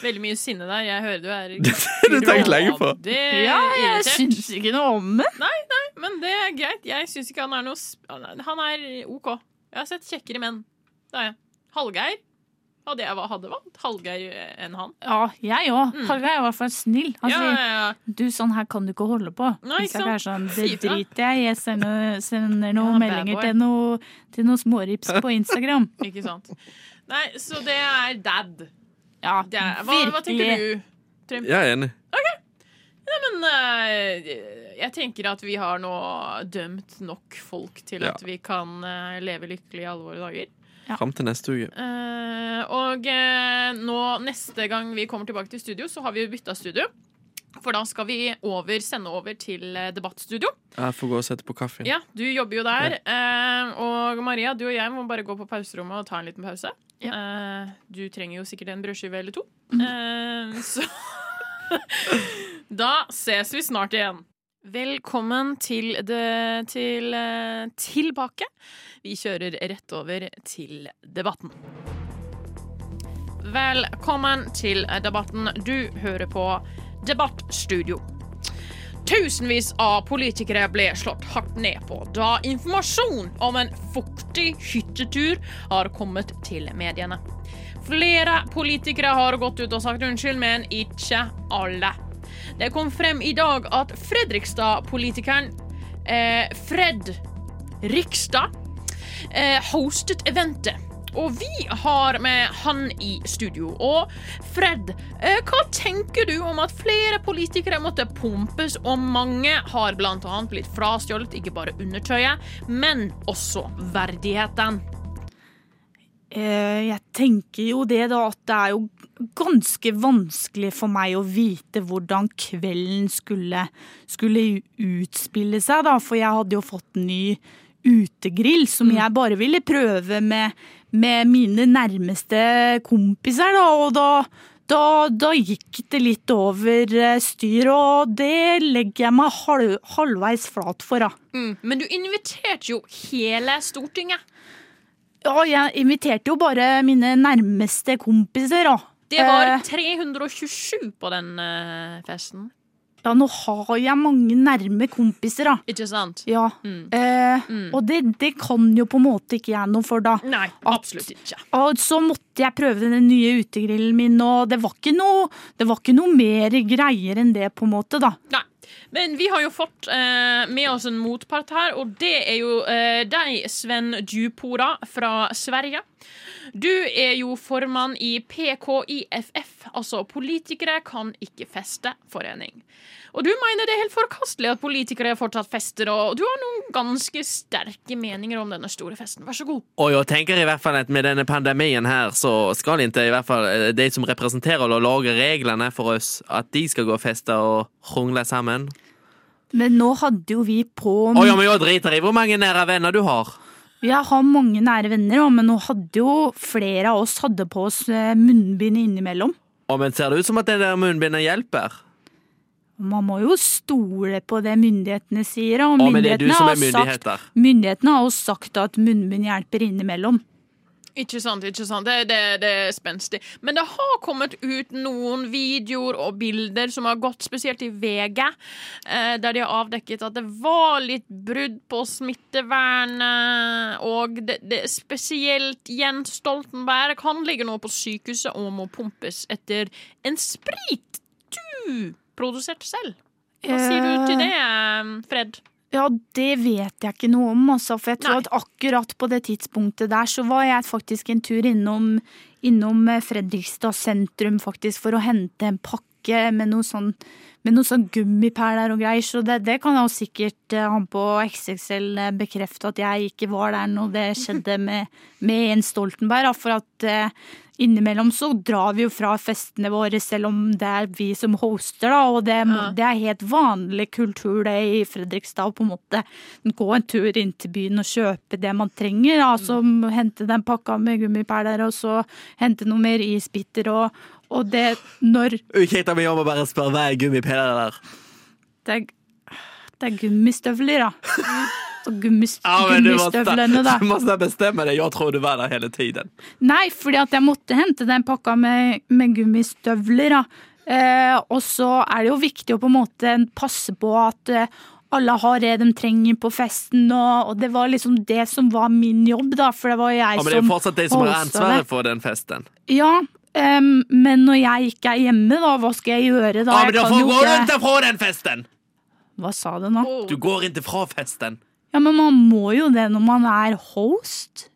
Veldig mye sinne der. Jeg hører du er
du tenkt lenge på.
Det er
Ja, jeg
irritert.
Eh, syns ikke noe om det.
Men det er greit. Jeg syns ikke han er noe sp han er- Han er OK. Jeg har sett kjekkere menn. Det har jeg. Hallgeir hadde jeg va- hadde valgt. Hallgeir eh, enn han.
Ja, jeg òg.
Mm.
Hallgeir er i hvert fall snill. Han
ja,
sier
ja, ja.
'du, sånn her kan du ikke holde på'.
Nei, ikke
Isak er sånn 'det
Si fra.»
driter jeg i', jeg sender, sender
Ja,
noen
bad
meldinger
boy.
til, noe, til noen smårips på Instagram.
Ikke sant. Nei, så det er dad.
Ja,
Det er, hva, hva tenker du?
Jeg er enig.
Men eh, jeg tenker at vi har nå dømt nok folk til
Ja.
at vi kan eh, leve lykkelig i alle våre dager.
Fram til neste uke.
Eh, og eh, nå, neste gang vi kommer tilbake til studio, så har vi bytta studio. For da skal vi over, sende over til eh, debattstudio.
Jeg får gå og sette på kaffen.
Ja, Du jobber jo der. eh, og Maria, du og jeg må bare gå på pauserommet og ta en liten pause. Eh, du trenger jo sikkert en brødskive eller to. Eh, så Da ses vi snart igjen. Velkommen til, det, til eh, tilbake. Vi kjører rett over til debatten. Velkommen til debatten. Du hører på Debattstudio. Tusenvis av politikere ble slått hardt ned på da informasjon om en fuktig hyttetur har kommet til mediene. Flere politikere har gått ut og sagt unnskyld, men ikke alle. Det kom frem i dag at Fredrikstad-politikeren eh, Fred Rikstad eh, hostet eventet. Og vi har med han i studio. Og Fred, eh, hva tenker du om at flere politikere måtte pumpes, og mange har bl.a. blitt frastjålet ikke bare undertøyet, men også verdigheten?
Eh, Jeg tenker jo det, da, at det er jo ganske vanskelig for meg å vite hvordan kvelden skulle, skulle utspille seg, da. For jeg hadde jo fått ny utegrill, som jeg bare ville prøve med, med mine nærmeste kompiser, da. Og da, da, da gikk det litt over eh, styr, og det legger jeg meg halv, halvveis flat for, da.
Men du inviterte jo hele Stortinget.
Ja, jeg inviterte jo bare mine nærmeste kompiser, da.
Det var
Eh,
327 på den eh, festen.
Ja, nå har jeg mange nærme kompiser, da.
Ikke sant?
Ja. Eh, Og det, det kan jo på en måte ikke jeg noe for, da.
Nei, absolutt ikke.
Og så måtte jeg prøve den nye utegrillen min, og det var ikke noe, det var ikke noe mer greier enn det, på en måte, da.
Nei. Men vi har jo fått eh, med oss en motpart her, og det er jo eh, deg, Sven Djupora fra Sverige. Du er jo formann i PKIFF, altså Politikere kan ikke feste-forening. Og du mener det er helt forkastelig at politikere fortsatt fester, og du har noen ganske sterke meninger om denne store festen. Vær så god.
Og jeg tenker i hvert fall at med denne pandemien her, så skal ikke i hvert fall eh, de som representerer og lager reglene for oss, at de skal gå og feste og krangle sammen.
Men nå hadde jo vi på
Å ja, men jeg driter i hvor mange nære venner du har.
Jeg har mange nære venner, da, men nå hadde jo flere av oss hadde på oss eh, munnbind innimellom.
Å, men ser det ut som at det der munnbindet hjelper?
Man må jo stole på det myndighetene sier. Og
Å, men det er du
myndighetene
som
har
er
sagt-
myndigheter.
Myndighetene har jo sagt at munnbind hjelper innimellom.
Ikke sant, ikke sant. Det, det, det er spenstig. Men det har kommet ut noen videoer og bilder som har gått spesielt i VG, eh, der de har avdekket at det var litt brudd på smittevernet, og det, det, spesielt Jens Stoltenberg. Han ligger nå på sykehuset og må pumpes etter en sprit du produserte selv. Hva sier du til det, eh, Fred?
Ja, det vet jeg ikke noe om, altså. For jeg
Nei.
tror at akkurat på det tidspunktet der, så var jeg faktisk en tur innom, innom eh, Fredrikstad sentrum, faktisk, for å hente en pakke med noe sånn med noe sånn gummipæler og greier, så det, det kan jeg jo sikkert eh, han på XXL eh, bekrefte at jeg ikke var der når det skjedde med, med Jens Stoltenberg. da, For at eh, innimellom så drar vi jo fra festene våre, selv om det er vi som hoster, da. Og det, må- det er helt vanlig kultur det i Fredrikstad å på en måte gå en tur inn til byen og kjøpe det man trenger. da, Som hente den pakka med gummipæler, og så hente noe mer isbiter og, og det når
Ukjenta mi om å bare spørre hva er gummipæler der?
det er, det er gummistøvler, da. Og gummis- gummistøvlene, da.
Du måtte bestemme deg. Jeg tror du var der hele tiden.
Nei, fordi at jeg måtte hente den pakka med, med gummistøvler, da. Eh, og så er det jo viktig å på en måte passe på at eh, alle har det de trenger på festen, og, og det var liksom det som var min jobb, da, for det var jeg
Ja, men det er
som
fortsatt de som har
hostet det.
ansvaret for den festen.
Ja, em, men når jeg ikke er hjemme, da, hva skal jeg gjøre da?
Ja,
Jeg
men da
kan
får
jo
gå
ikke-
rundt fra den festen!
Hva sa du nå?
Du går ikke fra festen.
Ja, men man må jo det når man er host.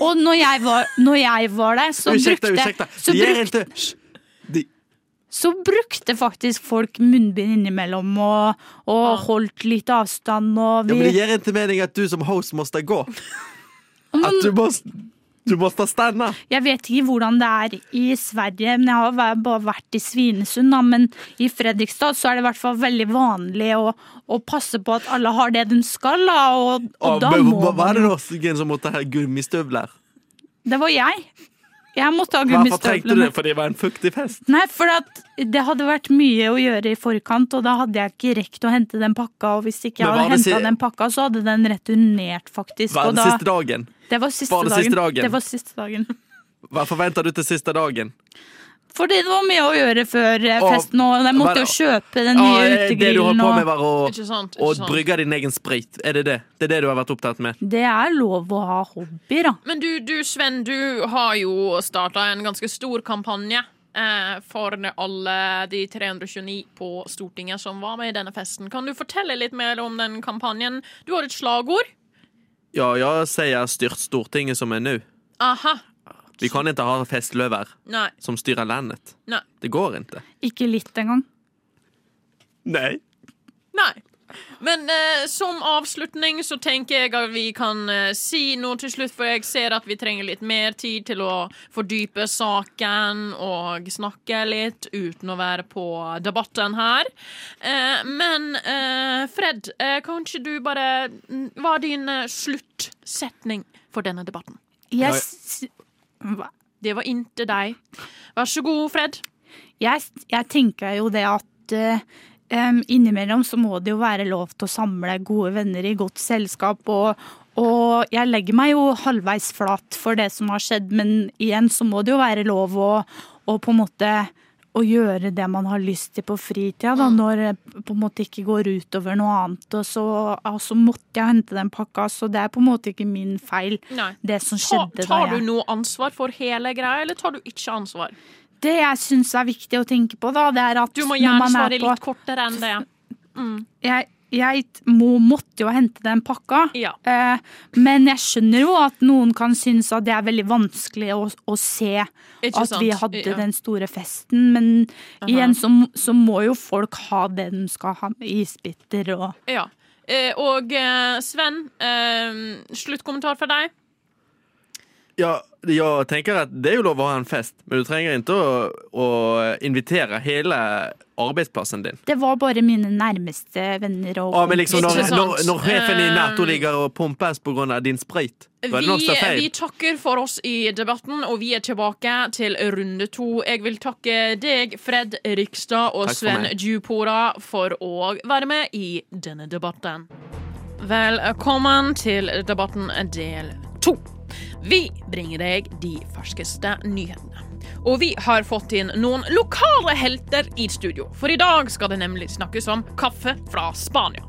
Og når jeg var, når jeg var der, så
Ursäkta,
brukte,
ursäkta.
Så,
Det er
bruk,
ikke Hysj. De-
så brukte faktisk folk munnbind innimellom og, og holdt litt avstand. Og
Ja, men det
vi,
gir ikke mening at du som host måtte gå. At du måste, du måste stanna.
jeg vet ikke hvordan det er i Sverige, men jeg har væ- bare vært i Svinesund. Da, men i Fredrikstad så er det i hvert fall veldig vanlig å, å passe på at alle har det de skal. Da, og, og
Ja,
da
men
må
hva- Hva er
man
det
jo
noen som måtte ha gummistøvler?
Det var jeg. Jeg måtte ha
Hvorfor trengte du
gummistøvlene.
det? For det var en fuktig fest.
Nei, for at det hadde vært mye å gjøre i forkant, og da hadde jeg ikke rekt å hente den pakka. Og hvis ikke jeg
Men var
hadde
det si-
henta den pakka, så hadde den returnert, faktisk.
Var
Og
det
da,
siste dagen?
det var siste
var det
dagen.
siste dagen?
Det var siste dagen.
Hva forventa du til siste dagen?
Fordi det var mye å gjøre før eh,
Å,
festen, og jeg måtte
var
jo
det-
kjøpe den
Ah,
nye
eh, det du holdt
utegrillen.
på med,
Og
var å,
Ikke sant,
å
ikke sant.
brygge din egen sprit. Er det det? Det er det du har vært opptatt med?
det er lov å ha hobbyer, da.
Men du, du Sven, du har jo starta en ganske stor kampanje eh, for alle de 329 på Stortinget som var med i denne festen. Kan du fortelle litt mer om den kampanjen? Du har et slagord.
Ja, jeg sier styrt Stortinget som er nå.
Aha.
Vi kan ikke ha festløver
Nei.
som styrer landet.
Nei.
Det går ikke.
Ikke litt engang.
Nei.
Nei. Men eh, som avslutning så tenker jeg at vi kan eh, si noe til slutt, for jeg ser at vi trenger litt mer tid til å fordype saken og snakke litt uten å være på debatten her. Eh, men eh, Fred, eh, kan ikke du bare Hva er din eh, sluttsetning for denne debatten?
Jeg, s- hva?
Det var inte deg. Vær så god, Fred.
jeg, jeg tenker jo det at eh, em, innimellom så må det jo være lov til å samle gode venner i godt selskap. Og, og jeg legger meg jo halvveis flat for det som har skjedd, men igjen så må det jo være lov å, å på en måte å gjøre det man har lyst til på fritida, da,
Mm.
når det på en måte ikke går utover noe annet. Og så, og så måtte jeg hente den pakka, så det er på en måte ikke min feil,
Nei.
det som
Ta,
skjedde da
tar
jeg
du noe ansvar for hele greia, eller tar du ikke ansvar?
Det jeg syns er viktig å tenke på, da, det er at
Du må
når
gjerne
man er
svare
på
litt kortere enn det.
jeg, jeg t- må, måtte jo hente den pakka.
Ja.
Eh, men jeg skjønner jo at noen kan synes at det er veldig vanskelig å, å se
Ikke
at
sant?
vi hadde
Ja.
den store festen. Men igjen så, m- så må jo folk ha det de skal ha. med Isbiter og
Ja. Eh, og eh, Sven, eh, sluttkommentar fra deg.
Ja, jeg tenker at det er jo lov å ha en fest, men du trenger ikke å, å invitere hele arbeidsplassen din.
Det var bare mine nærmeste venner og
Ja, men liksom når,
Ikke sant.
når, når sjefen i
Eh,
Nato ligger og pumpes pga. din sprit, da er det nok
Vi,
som er feil.
vi takker for oss i debatten, og vi er tilbake til runde to. Jeg vil takke deg, Fred Rikstad og
Takk for
Sven
meg.
Djupora, for å være med i denne debatten. Velkommen til debatten del to. Vi bringer deg de ferskeste nyhetene. Og vi har fått inn noen lokale helter i studio, for i dag skal det nemlig snakkes om kaffe fra Spania.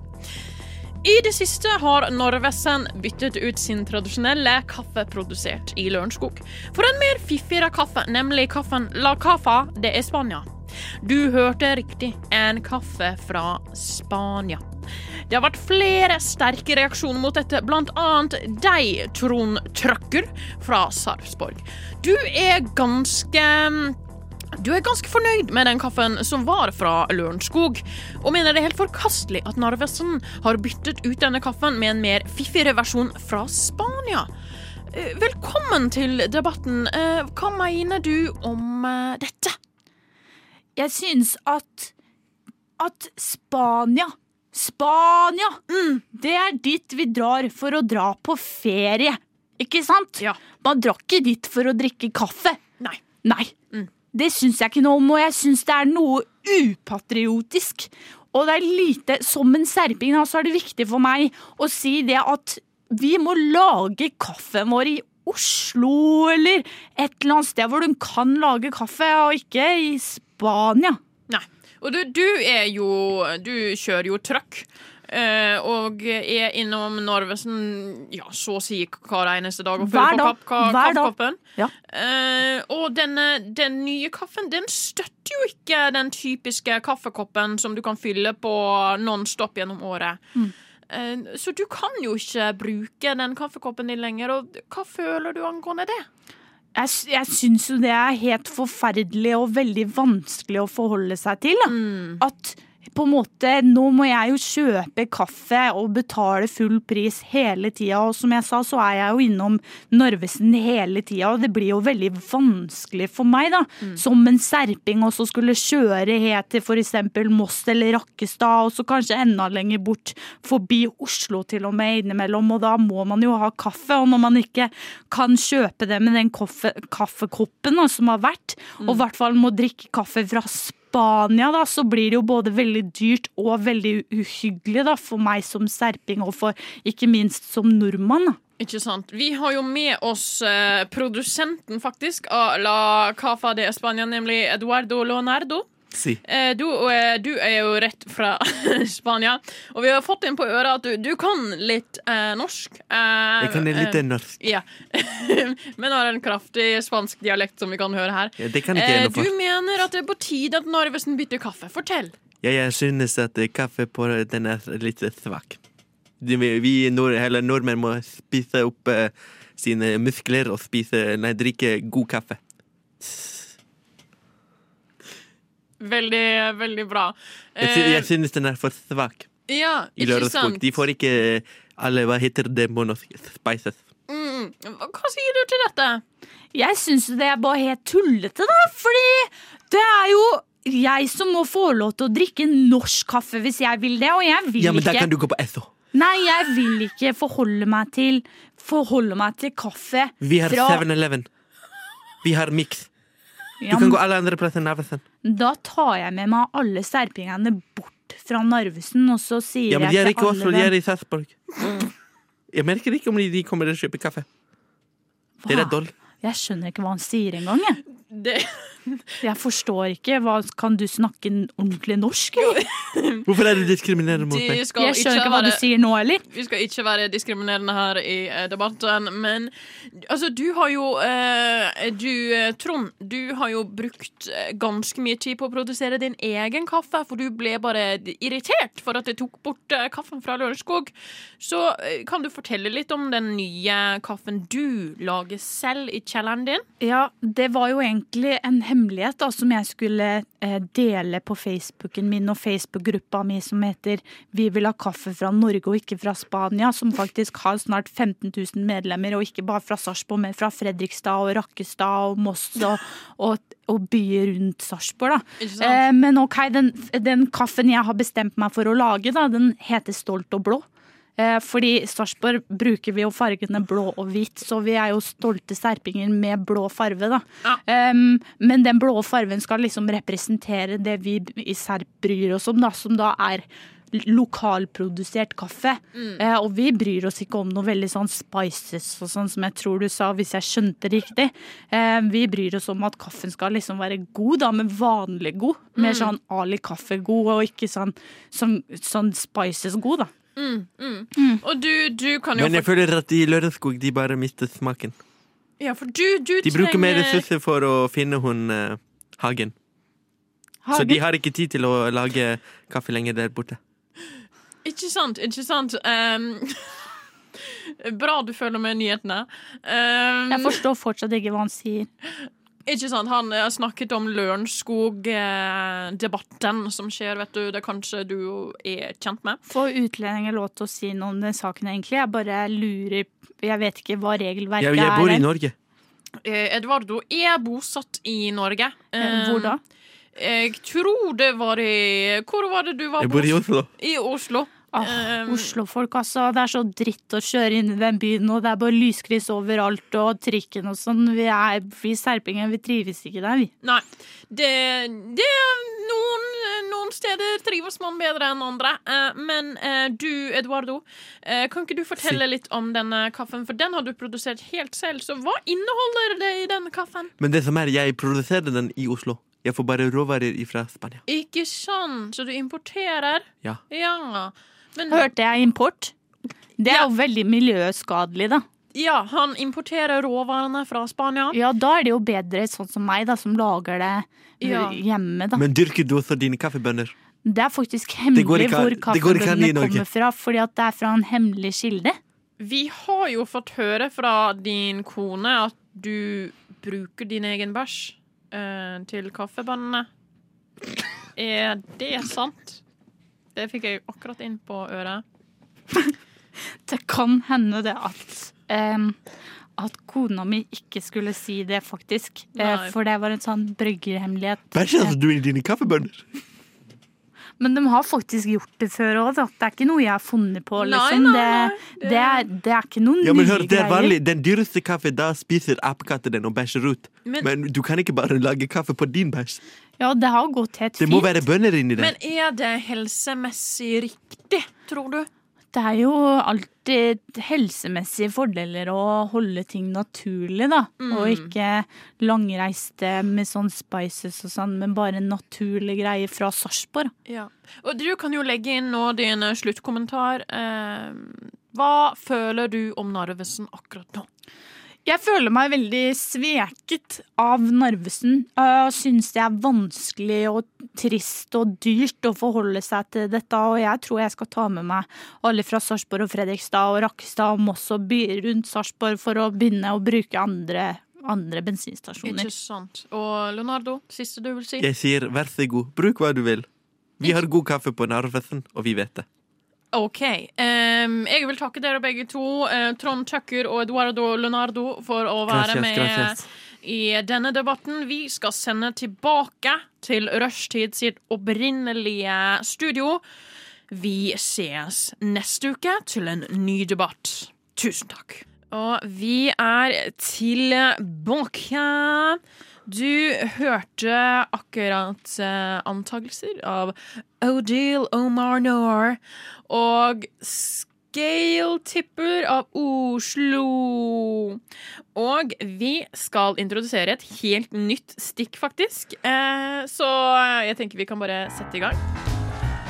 I det siste har Norwesen byttet ut sin tradisjonelle kaffe produsert i Lørenskog for en mer fiffigere kaffe, nemlig kaffen La Cafa de España. Du hørte riktig, en kaffe fra Spania. Det har vært flere sterke reaksjoner mot dette, blant annet deg, Trond Trøkker fra Sarpsborg. Du er ganske mm, du er ganske fornøyd med den kaffen som var fra Lørenskog, og mener det er helt forkastelig at Narvesen har byttet ut denne kaffen med en mer fiffigere versjon fra Spania. Eh, Velkommen til debatten. Eh, Hva mener du om eh, dette?
Jeg syns at at Spania Spania!
Mm.
Det er dit vi drar for å dra på ferie. Ikke sant?
Ja.
Man drar ikke dit for å drikke kaffe.
Nei.
Nei. Det syns jeg ikke noe om, og jeg syns det er noe upatriotisk. Og det er lite Som en serping da, så er det viktig for meg å si det at vi må lage kaffen vår i Oslo eller et eller annet sted hvor du kan lage kaffe, og ikke i Spania.
Nei. Og du, du er jo Du kjører jo truck. eh, og er innom Narvesen ja, så å si hver eneste dag og
Hver
følger på
dag.
kapp, ka,
Hver dag.
kaffekoppen.
Ja.
Eh, og denne, den nye kaffen den støtter jo ikke den typiske kaffekoppen som du kan fylle på nonstop gjennom året.
Mm.
Eh, så du kan jo ikke bruke den kaffekoppen din lenger. Og hva føler du angående det?
Jeg, s- jeg syns jo det er helt forferdelig og veldig vanskelig å forholde seg til. Da. At på en måte Nå må jeg jo kjøpe kaffe og betale full pris hele tida. Og som jeg sa, så er jeg jo innom Narvesen hele tida, og det blir jo veldig vanskelig for meg, da. Som en serping også skulle kjøre helt til f.eks. Moss eller Rakkestad, og så kanskje enda lenger bort, forbi Oslo til og med innimellom. Og da må man jo ha kaffe, og når man ikke kan kjøpe det med den koffe, kaffekoppen da, som har vært, og i hvert fall må drikke kaffe fra Spania, da, så blir det jo både veldig dyrt og veldig uhyggelig da, for meg som serping, og for ikke minst som nordmann. Da.
Ikke sant. Vi har jo med oss eh, produsenten, faktisk, av La Cafa de España, nemlig Eduardo Leonardo.
Si.
Eh, Du, eh, du er jo rett fra Spania, og vi har fått inn på øret at du, du kan litt eh, norsk. Eh,
Jeg kan
eh,
litt norsk.
Ja. Men har en kraftig spansk dialekt som vi kan høre her.
Ja, det kan ikke jeg
Eh,
noe
du
for.
mener at det er på tide at Narvesen bytter kaffe. Fortell.
Ja, jeg synes at eh, kaffe på den er litt svak. Du, Vi vi nord, eller nordmenn må spise opp eh, sine muskler og spise, nei, drikke god kaffe.
Veldig, veldig bra.
Jeg, sy-
Eh,
jeg synes den er for svak
ja,
i
ikke
lørdagsbok.
sant?
De får ikke eh, alle, hva heter det på norsk, spices.
Mm. Hva sier du til dette?
Jeg syns jo det er bare helt tullete, da, fordi det er jo jeg som må få lov til å drikke norsk kaffe hvis jeg vil det, og jeg vil
Ja, men da
ikke
kan du gå på SO.
Nei, jeg vil ikke forholde meg til Forholde meg til kaffe
Vi har
fra
7-Eleven. Vi har Mix. Du
Ja,
kan gå alle andre plasser enn Narvesen.
Da tar jeg med meg alle serpingene bort fra Narvesen, og så sier
Ja, men de er
jeg
ikke i
til
Oslo,
alle
de er
dem
i Sarpsborg. Jeg merker ikke om de, de kommer og kjøper kaffe. Dere er
Hva?
dårlig.
Jeg skjønner ikke hva han sier engang. Jeg.
Det,
jeg forstår ikke. Hva, kan du snakke n- ordentlig norsk? eller?
Hvorfor er det diskriminerende mot meg?
det skal
Jeg skjønner
ikke
ikke hva du
være
sier nå heller.
vi skal ikke være diskriminerende her i eh, debatten, men altså, du har jo eh, Du, eh, Trond, du har jo brukt eh, ganske mye tid på å produsere din egen kaffe, for du ble bare irritert for at jeg tok bort eh, kaffen fra Lørenskog. Så eh, kan du fortelle litt om den nye kaffen du lager selv i kjelleren din?
Ja, det var jo egentlig en hemmelighet da, som jeg skulle eh, dele på Facebooken min og Facebook-gruppa mi som heter Vi vil ha kaffe fra Norge og ikke fra Spania, som faktisk har snart 15 000 medlemmer, og ikke bare fra Sarpsborg, men fra Fredrikstad og Rakkestad og Moss og, og, og byer rundt Sarpsborg. da.
Ikke sant?
Eh, men ok, den, den kaffen jeg har bestemt meg for å lage, da, den heter Stolt og blå. Eh, Fordi i Sarpsborg bruker vi jo fargene blå og hvit, så vi er jo stolte serpinger med blå farve, da.
Ja.
Em, men den blå farven skal liksom representere det vi i Serp bryr oss om, da, som da er l- lokalprodusert kaffe. Eh, og vi bryr oss ikke om noe veldig sånn spices og sånn, som jeg tror du sa, hvis jeg skjønte riktig. Eh, vi bryr oss om at kaffen skal liksom være god, da, men vanlig god. Mer sånn Ali kaffe-god, og ikke sånn, sånn, sånn spices-god, da.
Og du, du kan jo
Men jeg føler at i Lørenskog de bare mister smaken.
fort- Ja, for du, du
De bruker mer
trenger
ressurser for å finne hun eh, Hagen. Så de har ikke tid til å lage kaffe lenger der borte.
Ikke sant, ikke sant. Ehm, bra du følger med nyhetene. Ehm,
Jeg forstår fortsatt ikke hva han sier.
ikke sant, Han eh, snakket om Lørenskog-debatten som skjer, vet du. Det kanskje du er kjent med.
Får utlendinger lov til å si noe om den saken, egentlig? Jeg bare lurer Jeg vet ikke hva regelverket
Jeg, jeg bor i
er.
Norge.
Eh, Eduardo er bosatt i Norge. Ehm,
Eh, Hvor da?
Jeg tror det var i Hvor var det du var?
Jeg bor i
bosatt?
Oslo.
I Oslo.
Åh,
Ehm,
Oslofolk, altså. Det er så dritt å kjøre inn i den byen, og det er bare lyskryss overalt, og trikken og sånn. Vi, er, vi serpinger, vi trives ikke der, vi.
Nei. Det, det er noen, noen steder trives man bedre enn andre. Eh, Men eh, du, Eduardo, eh, kan ikke du fortelle
Si.
litt om denne kaffen? For den har du produsert helt selv, så hva inneholder det i denne kaffen?
Men det som er, jeg produserer den i Oslo. Jeg får bare råvarer fra Spania.
Ikke sant? Så du importerer?
Ja.
Ja. Men,
Hørte jeg import? Det er
Ja.
jo veldig miljøskadelig, da.
ja, han importerer råvarene fra Spania.
Ja, da er det jo bedre sånn som meg, da, som lager det
Ja.
hjemme, da.
Men dyrker du også dine kaffebønner?
Det er faktisk
går
hemmelig
ikke an-
hvor
det går ikke an i
kaffebønnene
Norge.
kommer fra, fordi at det er fra en hemmelig kilde.
Vi har jo fått høre fra din kone at du bruker din egen bæsj eh, til kaffebønnene. Er det sant? Det fikk jeg akkurat inn på øret.
Det kan hende det at em, at kona mi ikke skulle si det, faktisk. Eh,
Nei.
for det var en sånn bryggerhemmelighet. Eh,
Bæsjer du i dine kaffebønner?
Men de har faktisk gjort det før òg, da. Det er ikke noe jeg har funnet på,
Nei,
liksom.
nei, nei.
Det, det, er, det er ikke noen
Ja, men
nye
hør, det er
greier.
vanlig. Den dyreste kaffe, da spiser apekatten den og bæsjer ut.
Men-
Men, du kan ikke bare lage kaffe på din bæsj.
Ja, det har gått helt
Det må
fint.
være bønner inni der.
Men er det helsemessig riktig, tror du?
Det er jo alltid helsemessige fordeler å holde ting naturlig, da. Og ikke langreiste med sånn spices og sånn, men bare naturlige greier fra Sarpsborg.
Ja. Og du kan jo legge inn nå din eh, sluttkommentar. Eh, hva føler du om Narvesen akkurat nå?
Jeg føler meg veldig sveket av Narvesen. Jeg syns det er vanskelig og trist og dyrt å forholde seg til dette. Og jeg tror jeg skal ta med meg alle fra Sarpsborg og Fredrikstad og Rakkestad og Moss og byer rundt Sarpsborg for å begynne å bruke andre, andre bensinstasjoner.
Ikke sant. Og Leonardo, siste du vil si?
Jeg sier vær så god, bruk hva du vil. Vi har god kaffe på Narvesen, og vi vet det.
OK. Em, jeg vil takke dere begge to, eh, Trond Tucker og Eduardo Leonardo, for å være
Gracias,
med
gracias.
i denne debatten. Vi skal sende tilbake til Rushtid sitt opprinnelige studio. Vi ses neste uke til en ny debatt. Tusen takk. Og vi er tilbake. Du hørte akkurat eh, antakelser av Odile Omar Noor og Scale-tipper av Oslo. Og vi skal introdusere et helt nytt stikk, faktisk. Eh, så jeg tenker vi kan bare sette i gang.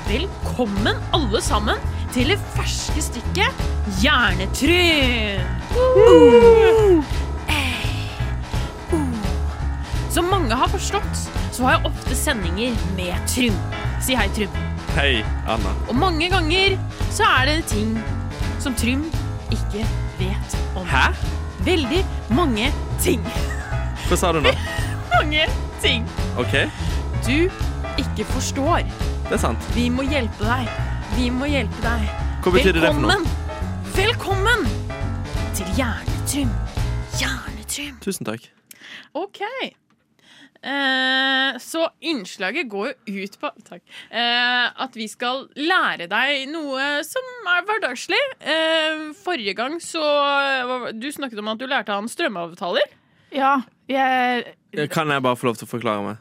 Velkommen, alle sammen, til det ferske stikket Hjernetryn! Woo! Eh, oh. Som mange har forstått, så har jeg ofte sendinger med Trym. Si hei, Trym.
Hei, Anna.
Og mange ganger så er det ting som Trym ikke vet om.
Hæ?
Veldig mange ting.
Hva sa du nå?
Mange ting
OK,
du ikke forstår.
det er sant.
Vi må hjelpe deg. Vi må hjelpe deg.
Hva betyr det for noe?
Velkommen! Velkommen til Hjernetrym. Hjernetrym.
Tusen takk.
OK. Eh, så innslaget går jo ut på takk, eh, at vi skal lære deg noe som er hverdagslig. Eh, forrige gang så hva var- Du snakket om at du lærte han strømavtaler.
Ja, jeg
Kan jeg bare få lov til å forklare meg?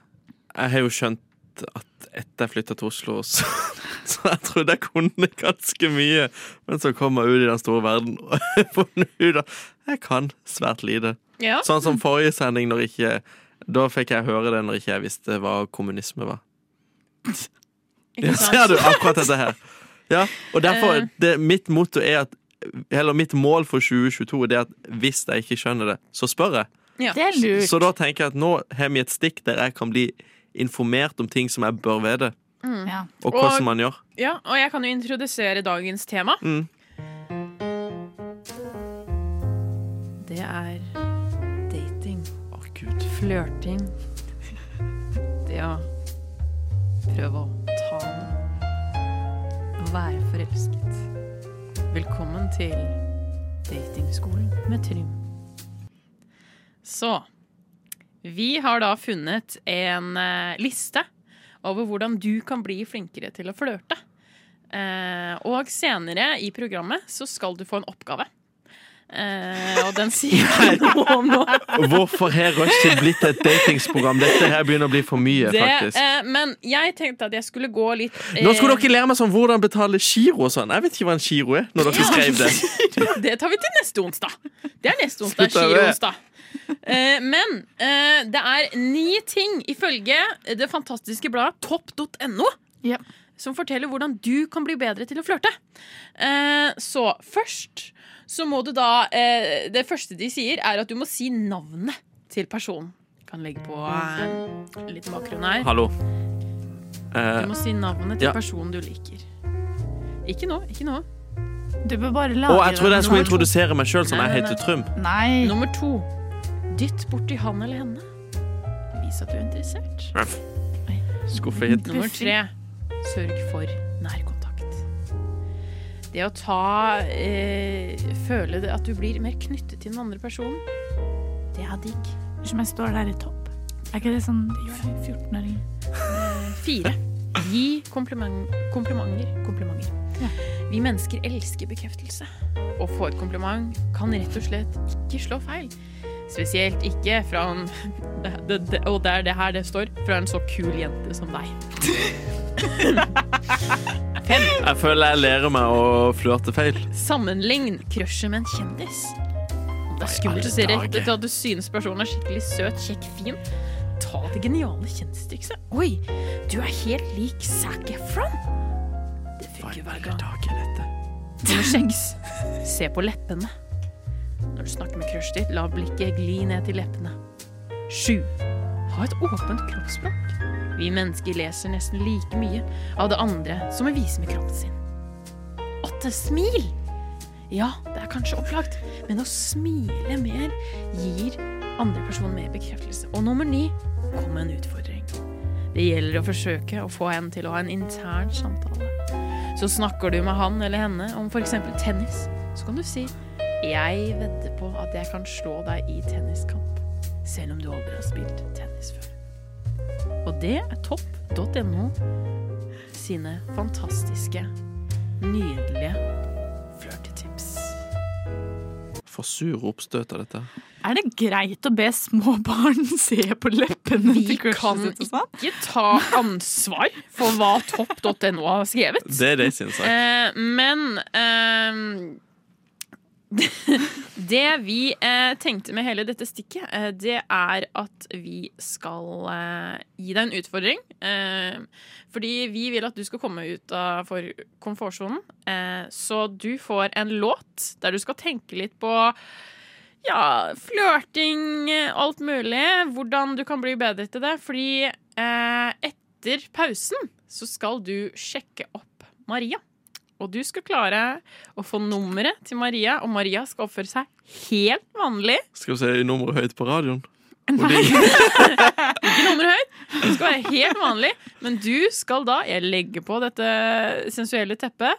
Jeg har jo skjønt at etter jeg flytta til Oslo, så, så jeg trodde jeg kunne ganske mye. Men så kom jeg ut i den store verden og jeg har funnet ut at jeg kan svært lite.
Ja.
Sånn som forrige sending, når ikke Da fikk jeg høre det når ikke jeg visste hva kommunisme var.
Ikke Eh.
Ja, ser du akkurat dette her? Ja, og derfor, det, mitt motto er at eller mitt mål for 2022 det er at hvis jeg ikke skjønner det, så spør jeg.
Ja.
Det er lurt.
Så da tenker jeg at nå har vi et stikk der jeg kan bli informert om ting som jeg bør vite,
Ja.
og hvordan
Og-
man gjør.
Ja, og jeg kan jo introdusere dagens tema.
Mm.
Det er dating,
Å, Gud.
flørting. Det å prøve å ta noe. Å være forelsket. Velkommen til datingskolen med Trym. Så vi har da funnet en eh, liste over hvordan du kan bli flinkere til å flørte. Eh, og senere i programmet så skal du få en oppgave. Eh, og den sier jeg noe om nå.
Hvorfor har Rushdie blitt et datingsprogram? Dette her begynner å bli for mye,
Det,
faktisk.
eh, men jeg tenkte at jeg skulle gå litt eh,
Nå skulle dere lære meg sånn hvordan betale giro og sånn. Jeg vet ikke hva en giro er, når dere skrev det.
Det tar vi til neste onsdag. Det er neste onsdag.
Slutt av det.
Giroonsdag. Eh, men eh, det er ni ting ifølge det fantastiske bladet topp.no
Ja.
som forteller hvordan du kan bli bedre til å flørte. Eh, så først så må du da eh, Det første de sier, er at du må si navnet til personen. Kan legge på eh, litt bakgrunn her.
Hallo. Eh,
Du må si navnet til
Ja.
personen du liker. Ikke nå. ikke nå
Du bør bare lage
Å, jeg trodde jeg skulle
nummer to.
introdusere meg sjøl som
Nei,
jeg
nei,
heter
nei.
Trym.
Nei.
Nummer to. Dytt borti han eller henne. Vis at du er interessert.
Skuffet hit.
Nummer tre. Sørg for nærkontakt. Det å ta eh, Føle det- at du blir mer knyttet til den andre personen, det er digg.
Som jeg står der i topp. Er ikke det sånn 14-åring?
Fire. Gi kompliment, komplimenter. Komplimenter. Vi mennesker elsker bekreftelse. Å få et kompliment kan rett og slett ikke slå feil. Spesielt ikke fra en det, det, det, Og det er det her det står. Fra en så kul jente som deg.
Jeg føler jeg lærer meg å flørte feil.
Sammenlign crushet med en kjendis. Det er skummelt å si
alle
rett
dager.
etter at du synes personen er skikkelig søt, kjekk, fin. Ta det geniale kjendistrikset. Oi, du er helt lik Zac Efron. Det funker hver gang. Nummer seks. Se på leppene. Når du snakker med crushet ditt, la blikket gli ned til leppene. Sju. Ha et åpent kroppsspråk. Vi mennesker leser nesten like mye av det andre som vi viser med kroppen sin. Åtte. Smil! Ja, det er kanskje opplagt, men å smile mer gir andre personer mer bekreftelse. Og nummer ni kom med en utfordring. Det gjelder å forsøke å få en til å ha en intern samtale. Så snakker du med han eller henne om f.eks. tennis, så kan du si 'Jeg vedder på at jeg kan slå deg i tenniskamp', selv om du aldri har spilt tennis før. Og det er topp.no sine fantastiske, nydelige flørtetips.
For sur oppstøt av dette.
Er det greit å be små barn se på leppene
Vi
til crushen
kan
sitt og sånn?
ikke ta ansvar for hva topp.no har skrevet.
Det er de sin sak.
Eh, men ehm, Det vi eh, tenkte med hele dette stikket, eh, det er at vi skal eh, gi deg en utfordring. Eh, fordi vi vil at du skal komme ut av for komfortsonen. Eh, så du får en låt der du skal tenke litt på ja, flørting, eh, alt mulig. Hvordan du kan bli bedre til det. Fordi eh, etter pausen så skal du sjekke opp Maria. Og du skal klare å få nummeret til Maria, og Maria skal oppføre seg helt vanlig.
Skal vi se nummeret høyt på radioen? Og
Nei,
de-
ikke nummer høyt. Hun skal være helt vanlig. Men du skal da Jeg legger på dette sensuelle teppet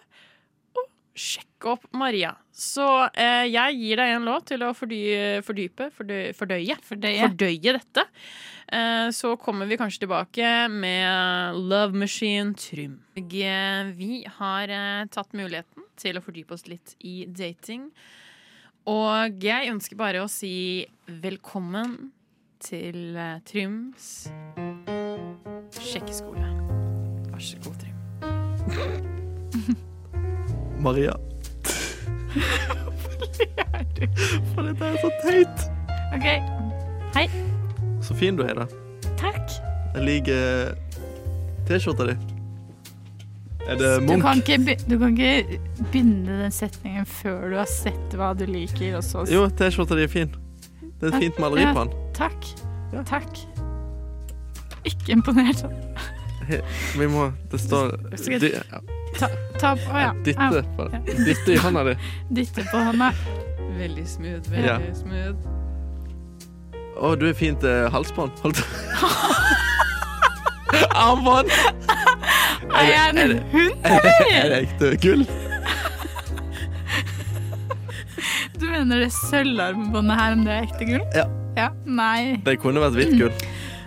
og sjekke opp Maria. Så eh, jeg gir deg en låt til å fordy- fordype, fordy- fordøye,
Fordøye.
fordøye dette. Eh, så kommer vi kanskje tilbake med Love Machine Trym. Og, eh, Vi har eh, tatt muligheten til å fordype oss litt i dating. Og jeg ønsker bare å si velkommen til eh, Tryms sjekkeskole. Vær så god, Trym.
Maria. For dette er så teit.
Ok,
Så fin du er, da.
takk.
Jeg liker eh, T-skjorta di. Er det
Du
Munch?
kan, ikke, be- du kan ikke begynne den setningen før du har sett hva du liker, og så
Jo, T-skjorta di er fin. Det er et fint maleri på den.
Takk.
Ja.
Takk. Ikke imponert.
Vi må Det står
Skal jeg-
dy- ja,
Ta på Å ja.
Dytte på den. Dytte i hånda di.
Au, Dytte på hånda.
Veldig smooth,
Ja.
veldig smooth.
Å, du er fint eh, halsbånd. Holdt Armbånd!
Er jeg
er
en
det-
hund?
Er det ekte gull?
Du mener det sølvarmbåndet her, om det er ekte gull?
Ja.
ja. Nei.
Det kunne vært hvitt gull.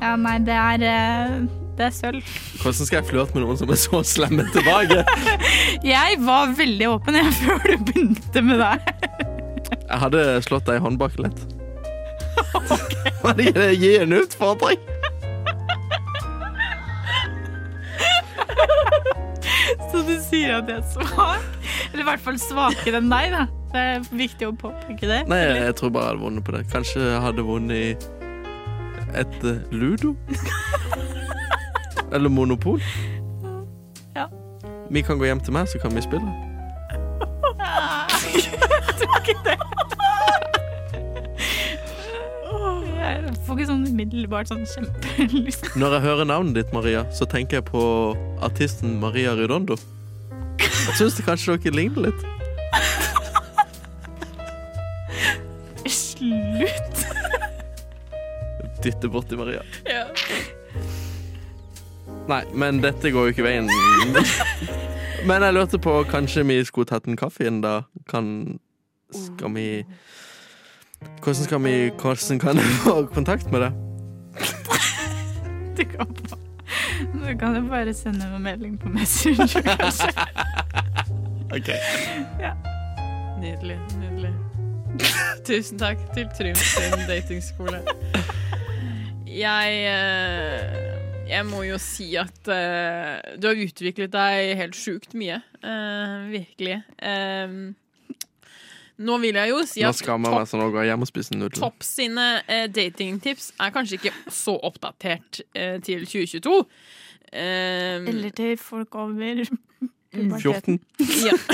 Ja, nei, det er eh, Det er sølv.
Hvordan skal jeg flørte med noen som er så slemme tilbake?
Jeg var veldig åpen jeg før du begynte med det.
Jeg hadde slått deg i håndbaken litt. Var det ikke det? Gi en utfordring!
Så du sier at jeg er svak? Eller i hvert fall svakere enn deg, da. Det er viktig å påpeke det.
Nei, jeg tror bare jeg hadde vunnet på det. Kanskje jeg hadde vunnet i et eh, ludo? Eller monopol?
Ja.
Vi kan gå hjem til meg, så kan vi spille.
Jeg får ikke sånn umiddelbart sånn kjempelyst.
Når jeg hører navnet ditt, Maria, så tenker jeg på artisten Maria Rudondo. Jeg syns det kanskje dere ligner litt.
Slutt!
Dytte borti Maria.
Ja.
Nei, men dette går jo ikke veien. Men jeg lurte på, kanskje vi skulle tatt en kaffe igjen da? Kan, skal vi... Hvordan skal vi, hvordan kan jeg få kontakt med deg?
Du kan, på. du kan jo bare sende meg en melding på Messenger, kanskje.
Ok.
Nydelig. Nydelig. Tusen takk til Trym sin datingskole. Jeg eh, Jeg må jo si at eh, du har utviklet deg helt sjukt mye. Eh, virkelig. Eh, nå vil jeg jo si
Nå
at
skammer jeg meg sånn og går hjem og spiser nudler.
Topp sine eh, datingtips er kanskje ikke så oppdatert eh, til 2022. Eh,
Eller til folk over
14.
ja.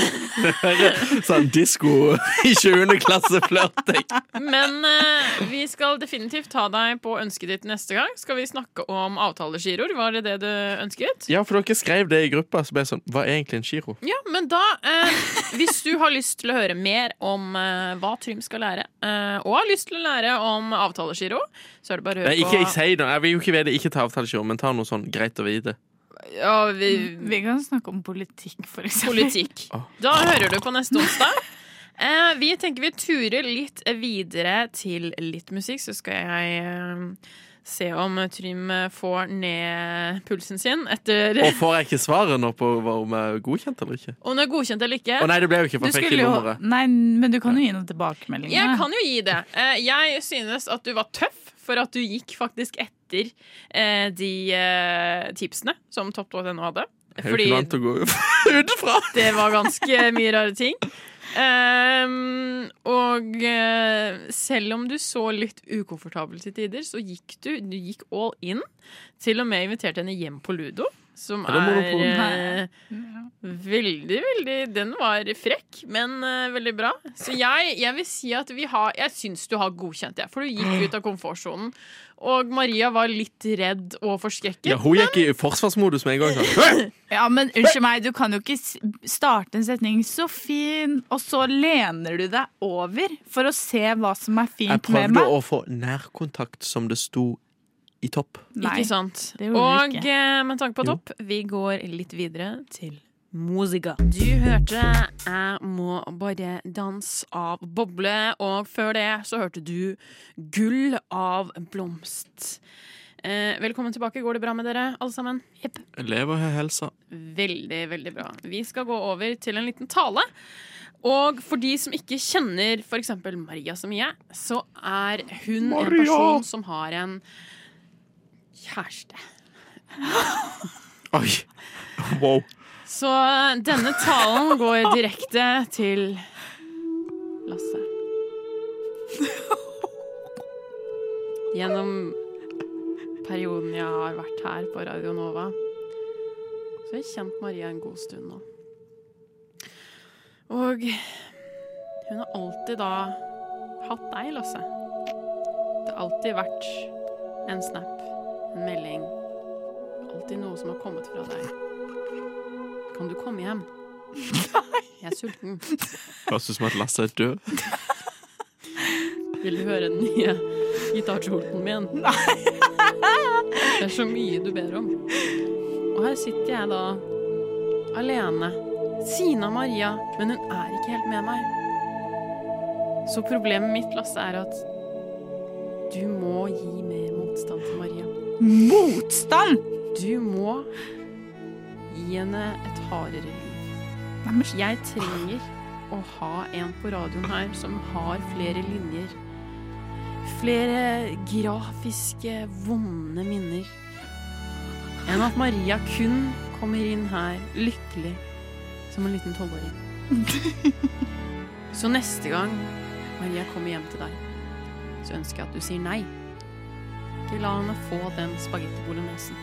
Sånn disco i 20. klasse flørting.
Men eh, vi skal definitivt ta deg på ønsket ditt neste gang. Skal vi snakke om avtalegiroer? Var det det du ønsket?
Ja, for dere skrev det i gruppa, så ble jeg sånn, hva er egentlig en giro?
Ja, men da eh, Hvis du har lyst til å høre mer om eh, hva Trym skal lære, eh, og har lyst til å lære om avtalegiro, så er det bare å høre
Nei, ikke, jeg
på
sier noe, jeg vil jo ikke vite, ikke ta avtalegiro, men ta noe sånn greit å vite.
ja, vi,
Vi kan snakke om politikk, for eksempel.
politikk. Ah. Da hører du på neste onsdag. Eh, vi tenker vi turer litt videre til litt musikk, så skal jeg eh, se om Trym får ned pulsen sin etter
Og får jeg ikke svaret nå på hva- om jeg er godkjent eller ikke?
om det er godkjent eller ikke.
Å nei, det ble jo ikke, for
Du
jeg fikk
skulle
ikke
jo
nummeret.
Nei, men du kan jo gi noen tilbakemeldinger.
Jeg kan jo gi det. Eh, jeg synes at du var tøff for at du gikk faktisk etter eh, de eh, tipsene som Topp.no hadde.
Jeg er jo
Fordi-
ikke vant til å gå ut fra.
Det var ganske mye rare ting. Ehm, og eh, selv om du så litt ukomfortabel til tider, så gikk du, du gikk all in. Til og med inviterte henne hjem på Ludo, som
Ja, det må du
er
på.
eh, veldig, veldig Den var frekk, men eh, veldig bra. Så jeg, jeg vil si at vi har Jeg syns du har godkjent det, for du gikk ut av komfortsonen. Og Maria var litt redd og forskrekket.
Ja, hun gikk i forsvarsmodus med en gang. Sånn.
Ja, men unnskyld meg, du kan jo ikke s- starte en setning 'så fin', og så lener du deg over for å se hva som er
Jeg
fint med
prøvde
meg.
å få nærkontakt, som det sto i topp.
Nei.
Ikke sant?
det gjorde
og
vi ikke.
eh, med tanke på
Jo.
topp, vi går litt videre til Musica. Du hørte 'Jeg må bare danse' av Boble, og før det så hørte du 'Gull av blomst'. Eh, velkommen tilbake. Går det bra med dere, alle sammen? Jepp.
Lever har helsa.
Veldig, veldig bra. Vi skal gå over til en liten tale. Og for de som ikke kjenner f.eks. Maria så mye, så er hun en person som har en kjæreste.
Oi. Wow.
Så eh, denne talen går direkte til Lasse. Gjennom perioden jeg har vært her på Radio Nova, så har jeg kjent Maria en god stund nå. Og hun har alltid da hatt deg, Lasse. Det har alltid vært en snap, en melding, alltid noe som har kommet fra deg. Kan du komme hjem? Jeg er sulten.
Høres ut som at Lasse er død.
Vil du høre den nye gitarkjolen min? Det er så mye du ber om. Og her sitter jeg da, alene. Sina Maria, men hun er ikke helt med meg. Så problemet mitt, Lasse, er at du må gi mer motstand til Maria.
sånn. Motstand!
Du må gi henne et hardere liv.
Nei, men
Jeg trenger å ha en på radioen her som har flere linjer. Flere grafiske, vonde minner. Enn at Maria kun kommer inn her lykkelig som en liten tolvåring. Så neste gang Maria kommer hjem til deg, så ønsker jeg at du sier nei. Ikke la henne få den spagetti bolognesen.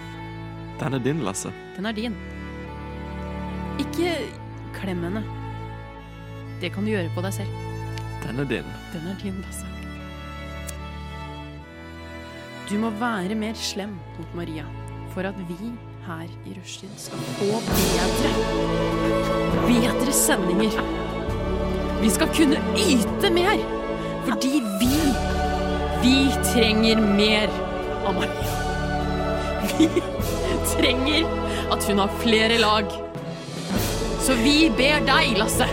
Den er din, Lasse.
Den er din. Ikke klem henne. Det kan du gjøre på deg selv.
Den er din.
Den er din, Lasse. Du må være mer slem mot Maria for at vi her i rushtid skal få bedre bedre sendinger. Vi skal kunne yte mer, fordi vi vi trenger mer av Maria. Vi trenger at hun har flere lag. Så vi ber deg, Lasse,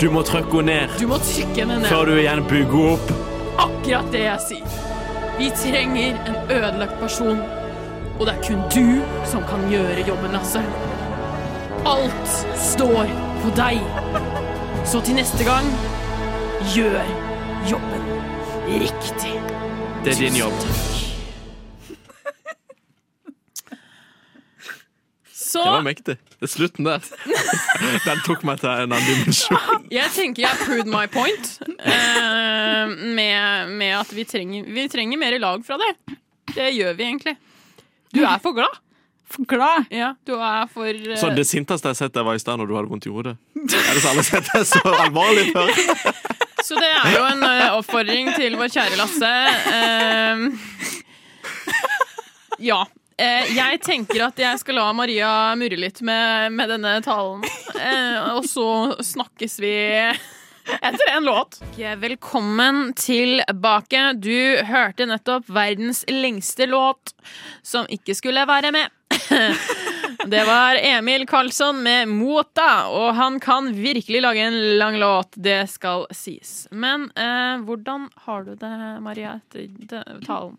Du må trykke henne ned
du må trykke henne ned.
før du igjen bygger opp.
Akkurat det jeg sier. Vi trenger en ødelagt person. Og det er kun du som kan gjøre jobben, Lasse. Alt står på deg. Så til neste gang, gjør jobben riktig.
Det er din jobb.
Så
Det var mektig. Det er slutten der. Den tok meg til en annen dimensjon.
jeg tenker jeg proved my point eh, med, med at vi trenger, vi trenger mer lag fra deg. Det gjør vi egentlig. Du er for glad.
For glad!
Ja, du er for eh,
Sånn, det sinteste jeg har sett deg, var i stad når du hadde vondt i hodet. Er det så alle har sett deg så alvorlig før?
Så det er jo en eh, oppfordring til vår kjære Lasse. Ehm, ja. Eh, jeg tenker at jeg skal la Maria murre litt med, med denne talen. Eh, og så snakkes vi etter en låt. Velkommen tilbake. Du hørte nettopp verdens lengste låt som ikke skulle være med. Det var Emil Karlsson med Mota, og han kan virkelig lage en lang låt. Det skal sies. Men eh, hvordan har du det, Maria, etter de- talen?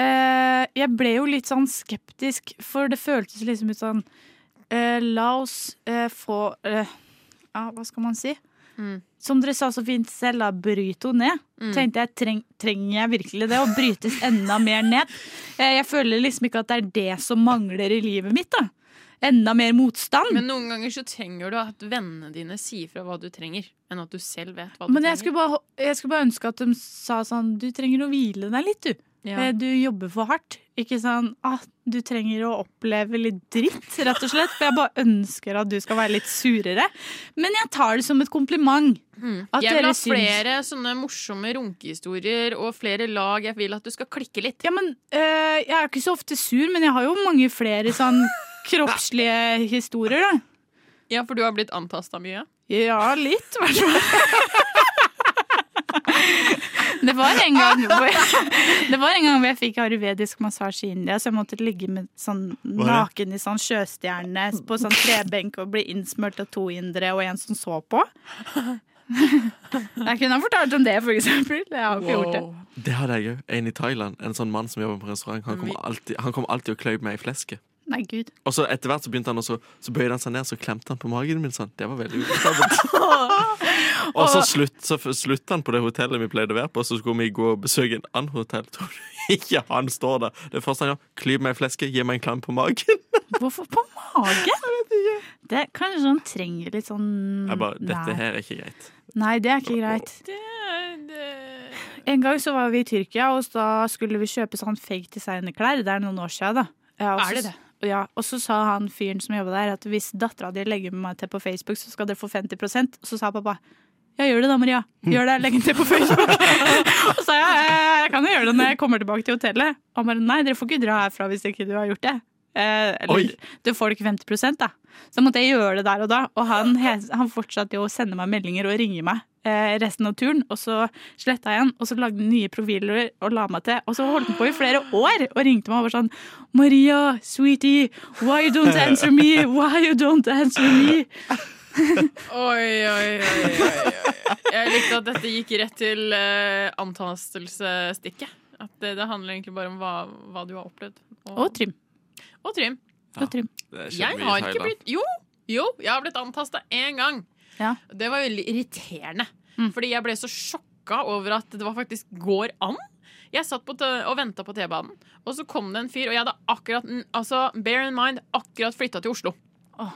Eh, jeg ble jo litt sånn skeptisk, for det føltes liksom ut sånn eh, La oss eh, få eh, Ja, hva skal man si?
Mm.
Som dere sa så fint selv, da, bryt henne ned. Tenkte jeg, treng, Trenger jeg virkelig det? Å brytes enda mer ned? Eh, jeg føler liksom ikke at det er det som mangler i livet mitt. da Enda mer motstand.
Men noen ganger så trenger du at vennene dine sier fra hva du trenger, enn at du selv vet hva du
Men jeg
trenger.
skulle, bare, jeg skulle bare ønske at de sa sånn Du trenger å hvile deg litt, du. Eh, Du jobber for hardt. Ikke sånn ah, du trenger å oppleve litt dritt, rett og slett. For jeg bare ønsker at du skal være litt surere. Men jeg tar det som et kompliment. At
Mm. jeg vil
dere
ha
syns-
flere sånne morsomme runkehistorier og flere lag. Jeg vil at du skal klikke litt.
Ja, men eh, Jeg er ikke så ofte sur, men jeg har jo mange flere sånn kroppslige historier, da.
Ja, for du har blitt antasta mye.
Ja, litt, i hvert fall. Det var en gang hvor jeg, Det var en gang hvor jeg fikk ayurvedisk massasje i India, så jeg måtte ligge med sånn
Hva
naken i sånn sjøstjerne på sånn trebenk og bli innsmurt av to indere og en som så på. Jeg kunne ha fortalt om det, for eksempel. Jeg har ikke gjort det.
Det hadde jeg òg. En i Thailand. En sånn mann som jobber på restaurant. Han kom alltid, han kom alltid og kløyv meg i flesket.
Nei, gud.
Og så etter hvert så begynte han også, så bøyde han seg ned så klemte han på magen min sånn. Det var veldig ukomfortabelt. og så, slutt, så f- slutta han på det hotellet vi pleide å være på, så skulle vi gå og besøke en annen hotell. Tror du ikke han står der? Det første han gjør, klyp meg i flesket, gi meg en klem på magen.
Hvorfor på magen? Det er Kanskje han trenger litt sånn
Jeg bare,
Mm,
dette
Nei.
her er ikke greit.
Nei, det er ikke greit. En gang så var vi i Tyrkia, og da skulle vi kjøpe sånn fake designerklær. Det er noen år siden, da. Ja, og så-
Er det det?
Ja, og så sa han fyren som jobba der, at hvis dattera di legger meg til på Facebook, så skal dere få 50 Og så sa pappa ja, gjør det da, Maria. Gjør det, Legg den til på Facebook. og så sa jeg «Eh, jeg kan jo gjøre det når jeg kommer tilbake til hotellet. Og han bare nei, dere får ikke dra herfra hvis ikke du har gjort det. Eh, eller,
Oi.
Du får ikke 50 da. Så måtte jeg gjøre det der og da. Og han, hes- han fortsatte jo å sende meg meldinger og ringe meg eh, resten av turen. Og så sletta jeg han, og så lagde han nye profiler og la meg til. Og så holdt han på i flere år og ringte meg og var sånn Maria, sweetie, why you don't answer me? Why you don't answer me?
Oi, oi, oi, oi, oi. Jeg likte at dette gikk rett til uh, antastelsestikket. At det, det handler egentlig bare om hva, hva du har opplevd.
Og Trym.
og Trym.
Og Trym.
Det skjedde
Jeg
mye i
har ikke
Thailand.
blitt Jo, jo jeg har blitt antasta én gang.
Ja.
Det var veldig irriterende.
Mm.
Fordi jeg ble så sjokka over at det var faktisk går an. Jeg satt på t og venta på T-banen, og så kom det en fyr. Og jeg hadde akkurat altså, bear in mind, akkurat flytta til Oslo.
Åh.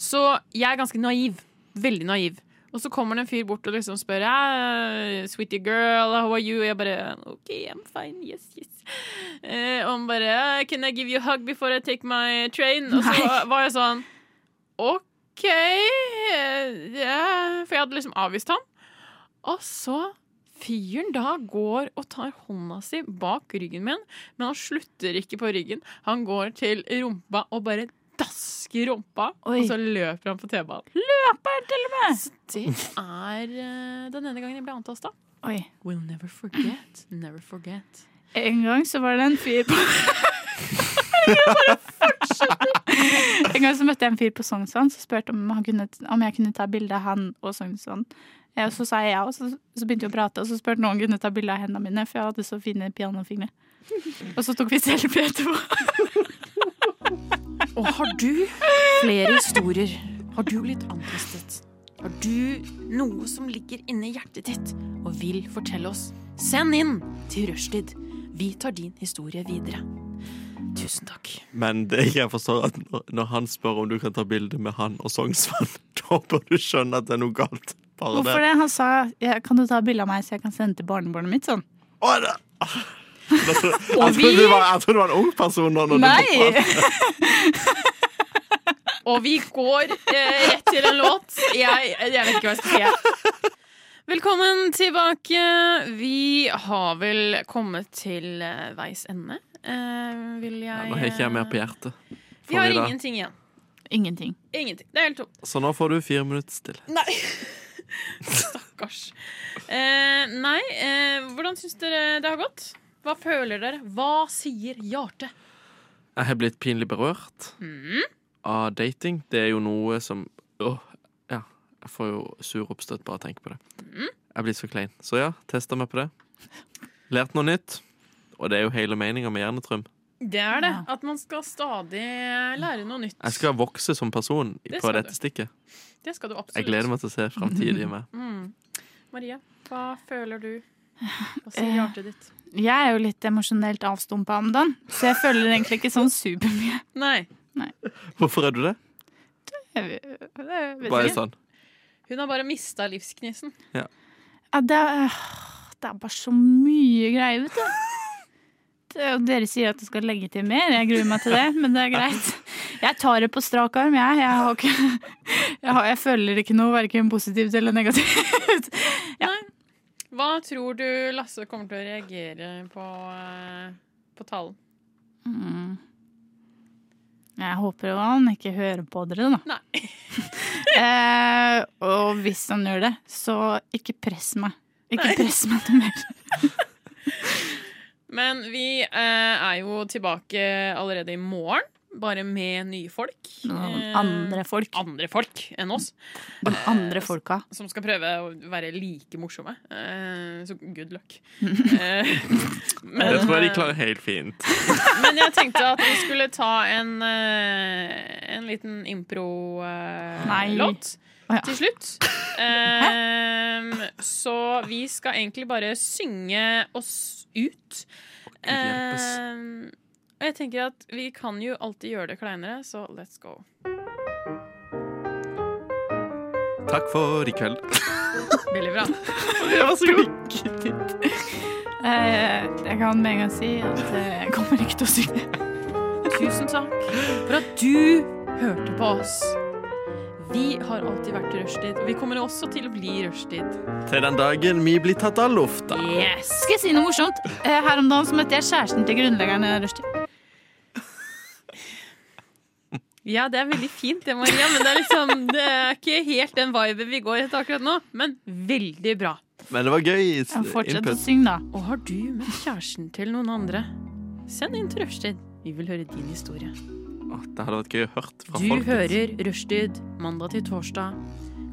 Så jeg er ganske naiv. Veldig naiv. Og så kommer det en fyr bort og liksom spør «Eh, Sweetie girl, how are you? Og jeg bare OK, I'm fine. Yes, yes. Eh, og han bare Can I give you a hug before I take my train? Og så
Nei.
var jeg sånn OK. eh, ja», For jeg hadde liksom avvist han. Og så fyren da går og tar hånda si bak ryggen min, men han slutter ikke på ryggen. Han går til rumpa og bare dasker rumpa,
Oi.
og så løper han på T-banen.
Løper til og med!
Så det er eh, den ene gangen jeg ble antasta.
Oi.
Will never forget. Never forget.
En gang så var det en fyr på En gang så møtte jeg en fyr på Sognsvann som spurte om, han kunne, om jeg kunne ta bilde av han og Sognsvann. Eh, Og så sa jeg ja, og så, så begynte vi å prate, og så spurte noen om han kunne ta bilde av hendene mine, for jeg hadde så fine pianofingre. Og så tok vi selfie etterpå.
Og har du flere historier? Har du blitt antastet? Har du noe som ligger inni hjertet ditt og vil fortelle oss? Send inn til Rushtid. Vi tar din historie videre. Tusen takk.
Men det jeg forstår at når, når han spør om du kan ta bilde med han og Sognsvann, da bør du skjønne at det er noe galt. Bare
Hvorfor det? Han sa ja, kan du ta bilde av meg, så jeg kan sende til barnebarnet mitt? sånn.
Å, det. Jeg trodde, jeg, trodde du var, jeg trodde du var en ung person nå. Når Du
Nei!
Og vi går eh, rett til en låt. Jeg, jeg vet ikke hva jeg skal si. jeg. Velkommen tilbake. Vi har vel kommet til eh, veis ende. Eh, vil jeg eh,
nå har ikke jeg mer på hjertet. for
Vi har
i dag.
ingenting igjen.
Ingenting.
Ingenting. Det er helt tomt.
Så nå får du fire minutter stille.
Nei. Stakkars. Eh, nei, eh, hvordan syns dere det har gått? Hva føler dere? Hva sier hjertet?
Jeg har blitt pinlig berørt
Mm.
av dating. Det er jo noe som Åh, ja. Jeg får jo sur oppstøt bare av å tenke på det.
Mm.
Jeg blir så klein. Så ja, testa meg på det. Lært noe nytt. Og det er jo hele meninga med Hjernetrym.
Det er det. At man skal stadig lære noe nytt.
Jeg skal vokse som person
Det
på
skal
dette
du.
stikket.
Det skal du absolutt.
Jeg gleder meg til å se framtidige meg.
Mm. Maria, hva føler du? Hva sier hjertet ditt?
Jeg er jo litt emosjonelt avstumpa om dagen, så jeg føler egentlig ikke sånn supermye.
Nei,
Hvorfor er du det?
Jeg vet- jeg vet
Bare
ikke.
sånn.
hun har bare mista livsgnisten.
Ja, det, er, øh, det er bare så mye greier, vet du. Det, og dere sier at du skal legge til mer. Jeg gruer meg til det, men det er greit. Jeg tar det på strak arm, jeg. Jeg, har ikke, jeg, har, jeg føler ikke noe verken positivt eller negativt.
Hva tror du Lasse kommer til å reagere på, eh, på talen?
Mm. Jeg håper jo han ikke hører på dere, da.
Nei.
Eh, og hvis han gjør det, så ikke press meg. Ikke press meg til mer.
Men vi eh, er jo tilbake allerede i morgen, bare med nye folk.
Noen
Eh,
andre folk.
andre folk enn oss,
De andre folka.
som skal prøve å være like morsomme. Eh, så good luck. Eh, men,
Det tror jeg de klarer helt fint.
Men jeg tenkte at vi skulle ta en, eh, en liten
Nei.
impro-låt
Å, ja.
til slutt. Ehm, så vi skal egentlig bare synge oss ut.
hjelpes.
Ehm, og jeg tenker at vi kan jo alltid gjøre det kleinere, så let's go.
Takk for i kveld.
Veldig bra.
Eh, jeg kan med en gang si at eh, jeg kommer ikke til å synge.
Tusen takk for at du hørte på oss. Vi har alltid vært rushtid, og vi kommer også til å bli rushtid.
Til den dagen vi blir tatt av lufta.
Yes!
Skal jeg si noe morsomt? Eh, her om dagen så møtte jeg kjæresten til grunnleggeren i Rushtid.
Ja, det er veldig fint det, Maria, men det er liksom Det er ikke helt den viben vi går etter akkurat nå, men veldig bra.
Men det var gøy.
Ja, Fortsett å
Input.
synge, da.
Og har du møtt kjæresten til noen andre? Send inn til Rushtid. Vi vil høre din historie.
Å, Det hadde vært gøy å hørt fra
Du
folket.
hører Rushtid mandag til torsdag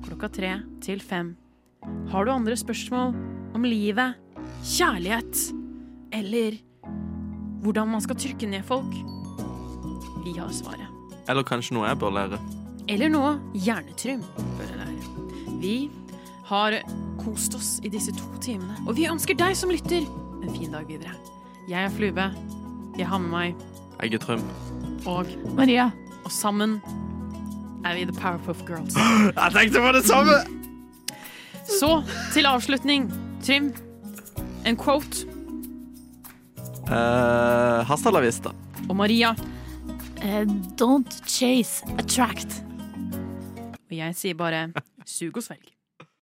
klokka tre til fem. Har du andre spørsmål om livet, kjærlighet eller hvordan man skal trykke ned folk? Vi har svaret.
Eller kanskje noe jeg bør lære.
Eller noe hjernetrym. bør det være. Vi har kost oss i disse to timene, og vi ønsker deg som lytter en fin dag videre. Jeg er Flube, jeg har med meg,
Jeg er Trym.
og,
Maria.
og sammen er vi The Powerpuff Girls.
Jeg tenkte på det samme!
Så til avslutning, Trym, en quote,
Uh, hasta la vista.
og Maria,
Eh, don't chase, attract.
og jeg sier bare sug og svelg.